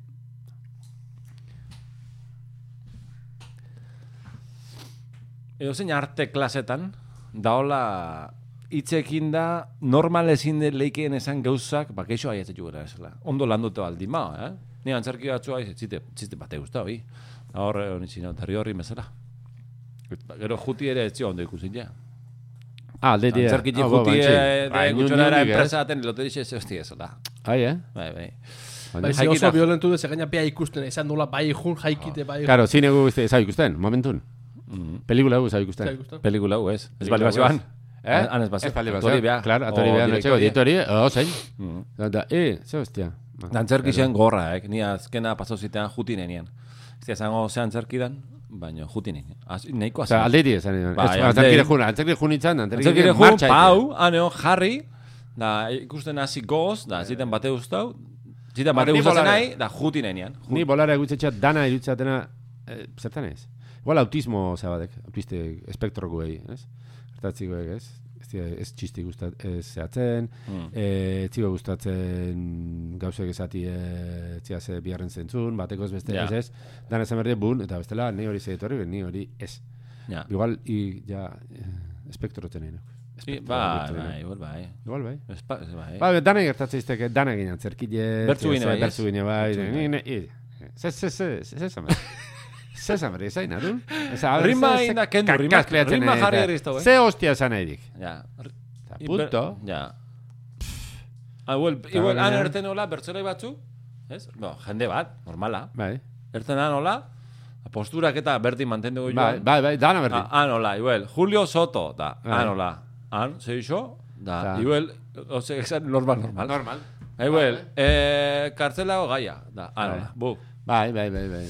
Speaker 1: Edo zein arte klasetan, daola hitzekin da normal ezin de- leikeen esan gauzak, ba, geixo aietetu gara esela. Ondo landute baldin ma, eh? Ni antzerki batzua ez, txite, txite bate guzta, hoi. Hor, hori zinatarri horri mezela. Ba, Gero juti ere ez zio ondo ikusi, ja.
Speaker 3: Ah, alde dira.
Speaker 1: Antzerki
Speaker 3: Ah, ba,
Speaker 1: juti
Speaker 3: bantxe. Ba,
Speaker 1: de
Speaker 3: ni-
Speaker 1: gutxonara
Speaker 3: ni- ni-
Speaker 1: enpresa daten loterixe ez hosti ezela.
Speaker 3: Ai, eh?
Speaker 1: Bai, bai.
Speaker 2: Bai, ze
Speaker 1: Jaikita.
Speaker 2: oso violentu de, ze gaina bea ikusten, izan dola bai jun, jaikite, bai
Speaker 3: Karo, zine gu ez zau ikusten, momentun.
Speaker 1: Mm-hmm.
Speaker 3: Pelikula gu zau
Speaker 2: jun,
Speaker 3: ikusten.
Speaker 2: ikusten.
Speaker 1: Pelikula hau ez. Ez
Speaker 3: Pelikula
Speaker 1: bali
Speaker 3: hau
Speaker 1: bazioan.
Speaker 3: Eh?
Speaker 1: Han Ah, ez bazioan.
Speaker 3: Ez bali
Speaker 1: Atori
Speaker 3: bazio.
Speaker 1: beha.
Speaker 3: Claro, atori
Speaker 1: O
Speaker 3: beha, netxeko
Speaker 1: direktoria. Mm-hmm.
Speaker 3: ditori, o, oh, zein. Da, da, e, ze hostia. Ba,
Speaker 1: Antzerki zen gorra, eh? Ni azkena pasau zitean jutinenian. Ez dira, zango ze antzerki dan, baino jutinenian. Az, neiko
Speaker 3: Eta
Speaker 1: azan.
Speaker 3: alde dira, zan. Ez,
Speaker 1: Bai,
Speaker 3: Antzerkire
Speaker 1: alde-
Speaker 3: jun, antzerkire jun itzan, antzerkire
Speaker 1: Antzerkire jun,
Speaker 3: martxa. egiten.
Speaker 1: pau, haneon jarri, da ikusten hasi goz, da ziten bate guztau, ziten bate
Speaker 3: Ni
Speaker 1: guztatzen
Speaker 3: bolare.
Speaker 1: nahi, da jutinenian.
Speaker 3: Ni bolara egutzetxea dana irutzatena, eh, zertan ez? Igual autismo zabadek, autiste espektro guei, ez? Gertatzi guei, ez? Ez, dira- ez txisti gustat, ez zehatzen,
Speaker 1: Hmm.
Speaker 3: mm. ez zigo gustatzen gauzek ezati eh, ez zia ze biharren zentzun, bateko ez beste
Speaker 1: Ja.
Speaker 3: ez ez, dana esan berde bun, eta bestela, ni hori zedetorri, ni hori ez.
Speaker 1: Ja.
Speaker 3: Igual, i, ja, eh, espektroten egin.
Speaker 1: I- Bai, bai, igual bai.
Speaker 3: Igual, bai.
Speaker 1: Espa- bai.
Speaker 3: Ba, dana gertatzen izteke, dana ginen antzerkile.
Speaker 1: Bertsu gine bai, ez?
Speaker 3: Bertzu gine bai. ni- ni- i- Ze, ze, ze, ze,
Speaker 1: [laughs]
Speaker 3: ze zamar. Ze zamar, ezain, adun? Eza,
Speaker 1: Rima inda kendu, rima- rima jarri herri ez dago, eh?
Speaker 3: Ze hostia esan nahi dik.
Speaker 1: Ja.
Speaker 3: Eta
Speaker 1: Ibe-
Speaker 3: punto.
Speaker 1: Ja. Ah, igual, igual, han
Speaker 3: baina-
Speaker 1: erten hola, bertzelai batzu, ez? No, jende bat, normala.
Speaker 3: Bai,
Speaker 1: Erten han hola, posturak eta berdin mantenduko
Speaker 3: bai,
Speaker 1: joan.
Speaker 3: bai, bai, dana
Speaker 1: Ah,
Speaker 3: berdin.
Speaker 1: han hola, igual, Julio Soto, da,
Speaker 3: Bai.
Speaker 1: han hola. Han, se iso, da,
Speaker 3: Ta.
Speaker 1: igual, ose, esan normal, ah, normal.
Speaker 3: Normal.
Speaker 1: Igual, eh, kartzelago gaia, da, han hola, bu.
Speaker 3: Bai, bai, bai, bai.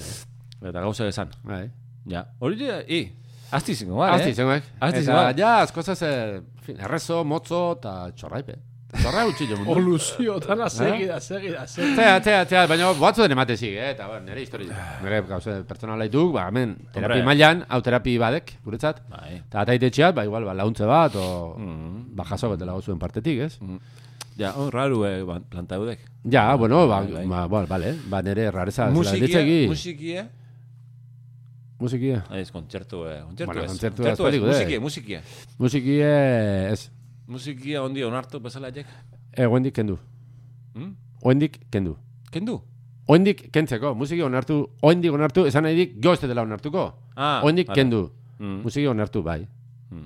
Speaker 1: Eta gauza esan,
Speaker 3: bai.
Speaker 1: ja. Hori dira, i, azti izango,
Speaker 3: Bai,
Speaker 1: bai,
Speaker 3: Azti izangoek.
Speaker 1: Azti
Speaker 3: Eta,
Speaker 1: izangoak.
Speaker 3: ja, askozaz, eh, fin, errezo, motzo, eta txorraipe. Txorra utzi
Speaker 1: [laughs]
Speaker 3: jo mundu.
Speaker 2: Oluzio, dana segida, segida, segida.
Speaker 3: Tea, tea, tea, baina batzuen ematezik, eh? Eta, ba, nire historiz. Nire gauze pertsonala dituk, ba, hemen, terapi
Speaker 1: Hombre.
Speaker 3: mailan, hau terapi badek, guretzat.
Speaker 1: Bai.
Speaker 3: Eta ataitetxeat, ba, igual, ba, launtze bat, o...
Speaker 1: Mm.
Speaker 3: Ba, jaso betela gozuen partetik, ez?
Speaker 1: Ja, hon, raru, eh, ban- plantaudek.
Speaker 3: Ja, bueno, ba,
Speaker 1: Bai, bai.
Speaker 3: ba, ba, vale, ba, nire rareza.
Speaker 1: Musikie, musikie,
Speaker 3: Musikie.
Speaker 1: Ah, Ez, kontzertu, eh, kontzertu
Speaker 3: Bueno,
Speaker 1: ez.
Speaker 3: kontzertu
Speaker 1: kontzertu ez,
Speaker 3: aspaldiko,
Speaker 1: musikie,
Speaker 3: eh.
Speaker 1: musikie.
Speaker 3: Musikie, ez.
Speaker 1: Musikia ondi onartu bezala jek.
Speaker 3: E, oendik kendu.
Speaker 1: Hmm?
Speaker 3: Oendik kendu.
Speaker 1: Kendu?
Speaker 3: Oendik kentzeko, musiki onartu, oendik onartu, esan nahi dik, goz ez dela onartuko.
Speaker 1: Ah,
Speaker 3: oendik
Speaker 1: vale.
Speaker 3: kendu.
Speaker 1: Mm.
Speaker 3: Musiki onartu, bai.
Speaker 1: Mm.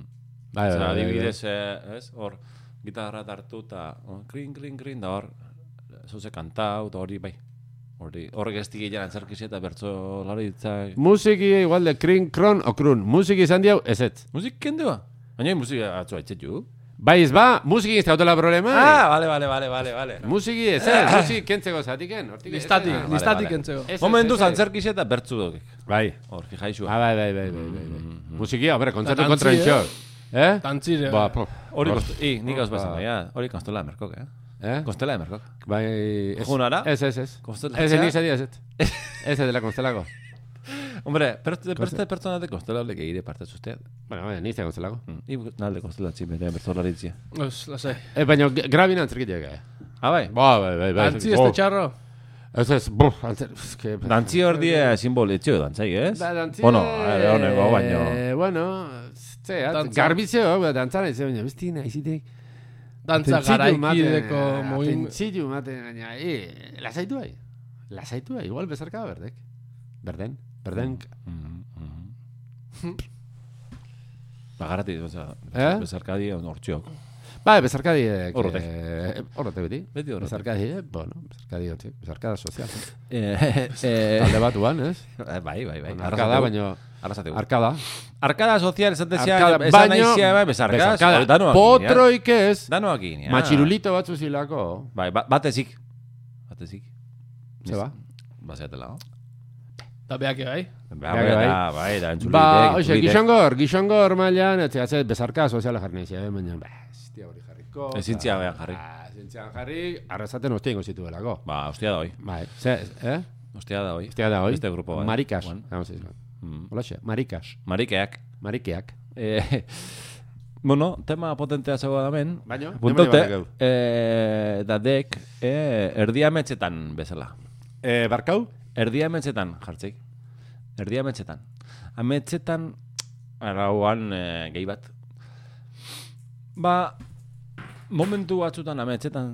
Speaker 3: Bai, bai,
Speaker 1: Zara,
Speaker 3: bai, bai, bai.
Speaker 1: adibidez, eh, ez, hor, gitarra hartu eta oh, hor, krin, krin, krin, da hor, zuze kantau, eta hori, bai. Hori, horrek ez digean antzerkiz eta bertso lari ditzak.
Speaker 3: Musiki igual de krin, kron, o krun. Musiki izan diau, ez ez.
Speaker 1: Musik kendua? Baina musika atzu aitzetu.
Speaker 3: Bai, ez ba, musiki ez daudela problema.
Speaker 1: Ah, vale, vale, vale, vale, vale.
Speaker 3: Musiki ez ez, musiki kentzeko zatiken. hortik ez ez.
Speaker 2: Listatik,
Speaker 1: vale,
Speaker 2: listatik
Speaker 1: vale.
Speaker 2: entzego.
Speaker 3: Ez, ez,
Speaker 1: Momentu
Speaker 3: ez, ez.
Speaker 1: antzerkiz eta bertso dugek.
Speaker 3: Bai.
Speaker 1: Hor, fijaizu.
Speaker 3: Ah, bai, bai, bai, bai, bai. bai. Musikia, hombre, kontzertu
Speaker 2: Eta
Speaker 3: kontra
Speaker 2: tantzi,
Speaker 3: intxor. Eh?
Speaker 2: Tantzire.
Speaker 3: Ba, po.
Speaker 1: Hori,
Speaker 3: Hor-
Speaker 1: kostu- i, nik hau
Speaker 3: Ba.
Speaker 1: bezan, ja. Hori konstela emerkok, eh?
Speaker 3: Eh?
Speaker 1: Konstela emerkok.
Speaker 3: Bai, ez.
Speaker 1: Junara?
Speaker 3: Ez, ez, ez.
Speaker 1: Konstelatzea?
Speaker 3: Ez, nik zadia, ez, ez. Ez, ez dela konstelago.
Speaker 1: Hombre, perte, perte pertsona de konstela lege ire parte usted.
Speaker 3: Bueno, bai, baina, nik zadia konstelago.
Speaker 1: I Mm. nalde konstela txime, de bertolaritzia.
Speaker 2: Ez, lasai.
Speaker 3: Eh, baina, g- grabin antzerkitea, eh?
Speaker 1: Ah, bai.
Speaker 3: Ba, bai, bai, bai.
Speaker 2: Antzi ez
Speaker 3: Oh,
Speaker 2: da txarro.
Speaker 3: Ez, ez, buf, antzer... ez que-
Speaker 1: Dantzi hor die simbol etxeo dantzai, ez?
Speaker 3: Da, Ba, dantzi...
Speaker 1: Bueno, eh, honeko, baino.
Speaker 3: Eh, Bueno, zea,
Speaker 2: Dantza.
Speaker 3: garbitzeo, dantzan ez, baina, bestina, izitek...
Speaker 2: Dantza garaikideko mohin...
Speaker 3: Tentzillu Ah, maten, baina, e, lasaitu bai. Lasaitu bai, igual bezarka berdek. Berden, berden.
Speaker 1: Mm. Bagarati,
Speaker 3: Eh?
Speaker 1: Eh? bezarkadi on hortziok.
Speaker 3: Bai, bezarkadiek.
Speaker 1: Horrotek.
Speaker 3: eh, horrotek beti.
Speaker 1: Beti horrotek.
Speaker 3: Bezarkadiek, bueno, bezarkadiek, sí, bezarkada sozial.
Speaker 1: Eh, [laughs] eh,
Speaker 3: Talde batuan, ez?
Speaker 1: bai, bai, bai.
Speaker 3: Arkada, baino...
Speaker 1: Arrasateu.
Speaker 3: Arkada.
Speaker 1: Arkada sozial esaten zea,
Speaker 3: Arkada,
Speaker 1: esan naizia, bai, bezarkaz.
Speaker 3: bezarkada.
Speaker 1: hori Danoak ginen.
Speaker 3: Potroik ez.
Speaker 1: Danoak ginen.
Speaker 3: Matxirulito batzu zilako.
Speaker 1: ah. Bai, ba- batezik. Batezik.
Speaker 3: Zeba.
Speaker 1: Bazeatela, no?
Speaker 2: Da beak bai.
Speaker 1: Ba,
Speaker 3: Bai,
Speaker 1: bai,
Speaker 3: bai.
Speaker 1: da, bai, da, entzulitek,
Speaker 3: Ba, oixe,
Speaker 1: entzulitek.
Speaker 3: gixongor, gixongor mailan, ez ez bezarka soziala jarri nahi, eh, baina, ba, ez tia hori jarriko.
Speaker 1: Ezin
Speaker 3: eta-
Speaker 1: zia behan jarri.
Speaker 3: Ah, Ezin zian jarri, arrasaten hostia ingo zituelako.
Speaker 1: Ba, hostia da hoi.
Speaker 3: Bai, ze, eh?
Speaker 1: Hostia da hoi.
Speaker 3: Hostia da hoi.
Speaker 1: Beste grupo bat.
Speaker 3: Marikas.
Speaker 1: Bueno.
Speaker 3: Vamos,
Speaker 1: Mm.
Speaker 3: Olaxe, marikas.
Speaker 1: Marikeak.
Speaker 3: Marikeak.
Speaker 1: Eh, [laughs] bueno, tema potentea zegoa damen.
Speaker 3: Baino,
Speaker 1: Puntaute,
Speaker 3: denbora badakau.
Speaker 1: eh, da dek, eh, erdia metxetan bezala.
Speaker 3: Eh, barkau?
Speaker 1: Erdia ametxetan, jartzik. Erdia ametxetan. Ametxetan, arauan eh, gehi bat. Ba, momentu batzutan ametxetan,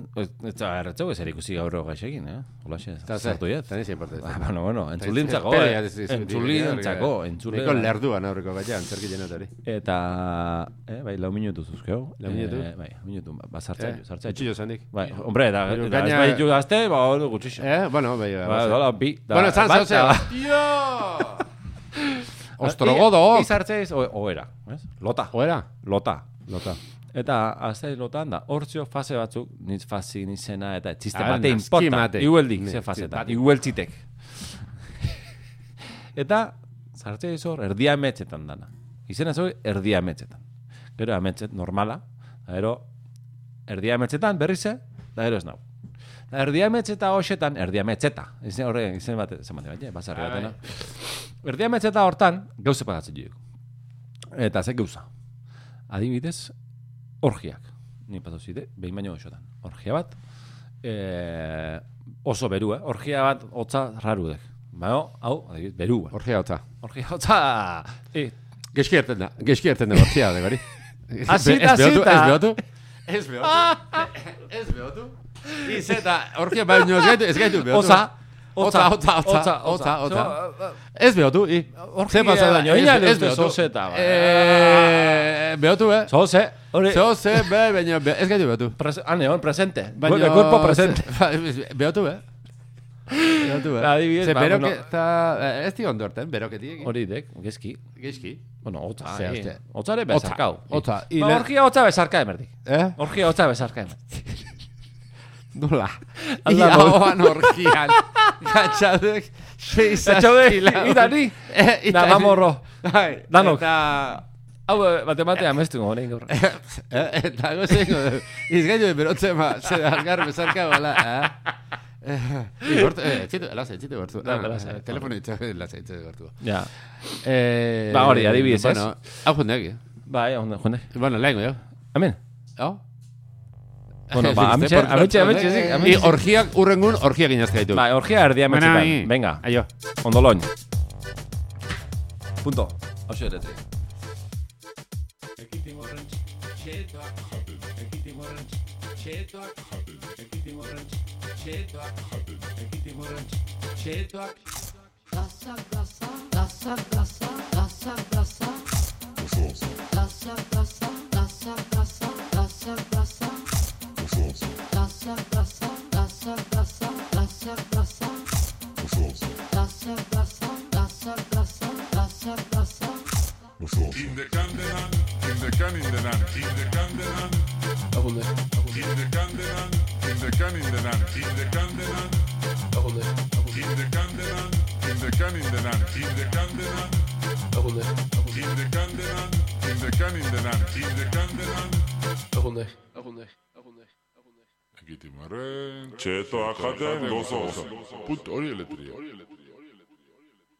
Speaker 1: ez da, erretzeu ezer ikusi gaur gaixekin, eh? Hola, xe,
Speaker 3: Eta ze,
Speaker 1: zartu jet.
Speaker 3: Eta nizien parte.
Speaker 1: Ba, bueno, bueno, entzulintzako,
Speaker 3: Espera,
Speaker 1: eh?
Speaker 3: ez- ez-
Speaker 1: entzulintzako, entzule.
Speaker 3: Niko lerduan aurreko batean, zerki hori.
Speaker 1: Eta, eh, bai, lau minutu zuzkeu.
Speaker 3: Lau minutu?
Speaker 1: Eh, bai, minutu, ba,
Speaker 3: Eh,
Speaker 1: sartzaio, sartzaio.
Speaker 3: Itxillo zanik.
Speaker 1: Bai, hombre, da,
Speaker 3: Hiru
Speaker 1: da, ez
Speaker 3: gaina-
Speaker 1: baitu gazte, ba, hori gutxixo.
Speaker 3: Eh, bueno, bai, bai,
Speaker 1: Ba,
Speaker 3: bai.
Speaker 1: dola, bi, da,
Speaker 3: Bueno, zan
Speaker 1: bat,
Speaker 3: zauzea.
Speaker 1: da-
Speaker 3: Tio! Ostrogodo!
Speaker 1: Izartzea iz, o- ohera, ez? Lota,
Speaker 3: Oera?
Speaker 1: lota.
Speaker 3: Lota.
Speaker 1: Eta azte lotan da, hortzio fase batzuk, nintz fasi nizena eta txiste
Speaker 3: Ah,
Speaker 1: bate
Speaker 3: naski
Speaker 1: inporta.
Speaker 3: mate.
Speaker 1: Iueldi,
Speaker 3: Ni-
Speaker 1: ze faseta,
Speaker 3: bate.
Speaker 1: iueltzitek. eta zartzea iz hor, erdia ametxetan dana. Izena zoi, erdia ametxetan. Gero ametxet normala, da gero erdia ametxetan berriz ze, da gero ez nau. Da erdia ametxeta hoxetan, erdia ametxeta. Izen horre, izen bat, izen bat, izen bat,
Speaker 3: Ah,
Speaker 1: izen Erdia metxeta hortan, gauze pagatzen dugu. Eta ze gauza. Adibidez, orgiak. Ni pasau zide, behin baino goxotan. Orgia bat, eh, oso berua. Orgia bat, hotza raru dek. Baina, hau, adibidez, berua.
Speaker 3: Orgea hotza.
Speaker 1: Orgia hotza! E,
Speaker 3: Geski erten da. Geski erten da orgea, de [laughs] gori. Ah,
Speaker 1: Azita,
Speaker 3: Ez behotu,
Speaker 1: azita.
Speaker 3: ez behotu. Ez behotu. [laughs] Ez behotu. Iz eta orgea baino bai, ez gaitu, ez gaitu behotu.
Speaker 1: Hotza!
Speaker 3: Hotza, hotza, hotza, hotza, hotza. Ez behotu, i. Ze pasa daño,
Speaker 1: Ia
Speaker 3: ia ez eh.
Speaker 1: lehute
Speaker 3: behotu.
Speaker 1: zoze eta... ba.
Speaker 3: Eh, behotu, eh?
Speaker 1: Zoze! Hori,
Speaker 3: Zoze, be, baina be- ez gaitu behotu.
Speaker 1: prese- han egon, presente.
Speaker 3: Baina...
Speaker 1: Baina... Cuerpo
Speaker 3: [laughs]
Speaker 1: presente.
Speaker 3: Behotu, eh? Behotu, eh?
Speaker 1: Adibidez,
Speaker 3: Ze
Speaker 1: ba,
Speaker 3: beroke-
Speaker 1: bueno.
Speaker 3: eta- Ez di ondo hartan, beroketiek.
Speaker 1: Hori dek, gezki.
Speaker 3: Geizki.
Speaker 1: Bueno, hotza,
Speaker 3: Ze,
Speaker 1: eh.
Speaker 3: hostia.
Speaker 1: Hotzare bezarkau.
Speaker 3: Ah, hotza,
Speaker 1: I-
Speaker 3: ile-
Speaker 1: Ba, orgia hotza bezarka emerdik.
Speaker 3: [laughs] Eh?
Speaker 1: Orgia hotza bezarka emerdik.
Speaker 3: Nola.
Speaker 1: Alda
Speaker 3: Ia
Speaker 1: modu.
Speaker 3: hoan
Speaker 1: [laughs]
Speaker 3: orgian. Gatxadek.
Speaker 1: Etxode,
Speaker 3: [laughs]
Speaker 1: idari.
Speaker 3: Eh,
Speaker 1: Da, gamorro.
Speaker 3: Bai.
Speaker 1: Danok.
Speaker 3: Eta...
Speaker 1: Hau, eh, bate batean amestu gorein gaur.
Speaker 3: Eh, Eta gozengo. Izgaitu berotzen ma. Zer algar bezarka bala.
Speaker 1: [laughs]
Speaker 3: Igortu, eh, etxitu, laze, etxitu gertu.
Speaker 1: Da,
Speaker 3: Ah,
Speaker 1: laze.
Speaker 3: eh, Telefono itxatu, laze, etxitu gertu.
Speaker 1: [laughs] Ja.
Speaker 3: Eh,
Speaker 1: Ba, hori, adibidez, ez?
Speaker 3: Bueno, hau jundegi.
Speaker 1: Bai, onda, jone.
Speaker 3: Bueno, lehenko, jo.
Speaker 1: Hemen.
Speaker 3: Hau? [laughs]
Speaker 1: Bueno, ba, ametxe, ametxe, ametxe, zik,
Speaker 3: I
Speaker 1: ametxe.
Speaker 3: eh, orgiak, urrengun orgiak inazkaitu.
Speaker 1: Bai, orgia erdia ametxetan.
Speaker 3: Bueno,
Speaker 1: Venga,
Speaker 3: Aio.
Speaker 1: ondoloin. Punto. Hau xerete.
Speaker 4: In the Candelan, in the can in the land, in the Candelan,
Speaker 2: Agunde.
Speaker 4: in the Candelan, in the can in the land, in the Candelan,
Speaker 2: Agunde.
Speaker 4: in the Candelan, in the can in the land, in the Candelan,
Speaker 2: Agunde.
Speaker 4: in the Candelan, in the can in the land, in the Candelan.
Speaker 2: Agunde. Agunde. Agunde.
Speaker 4: Egiten arren, txetoak jaten gozoz. Put hori eletria.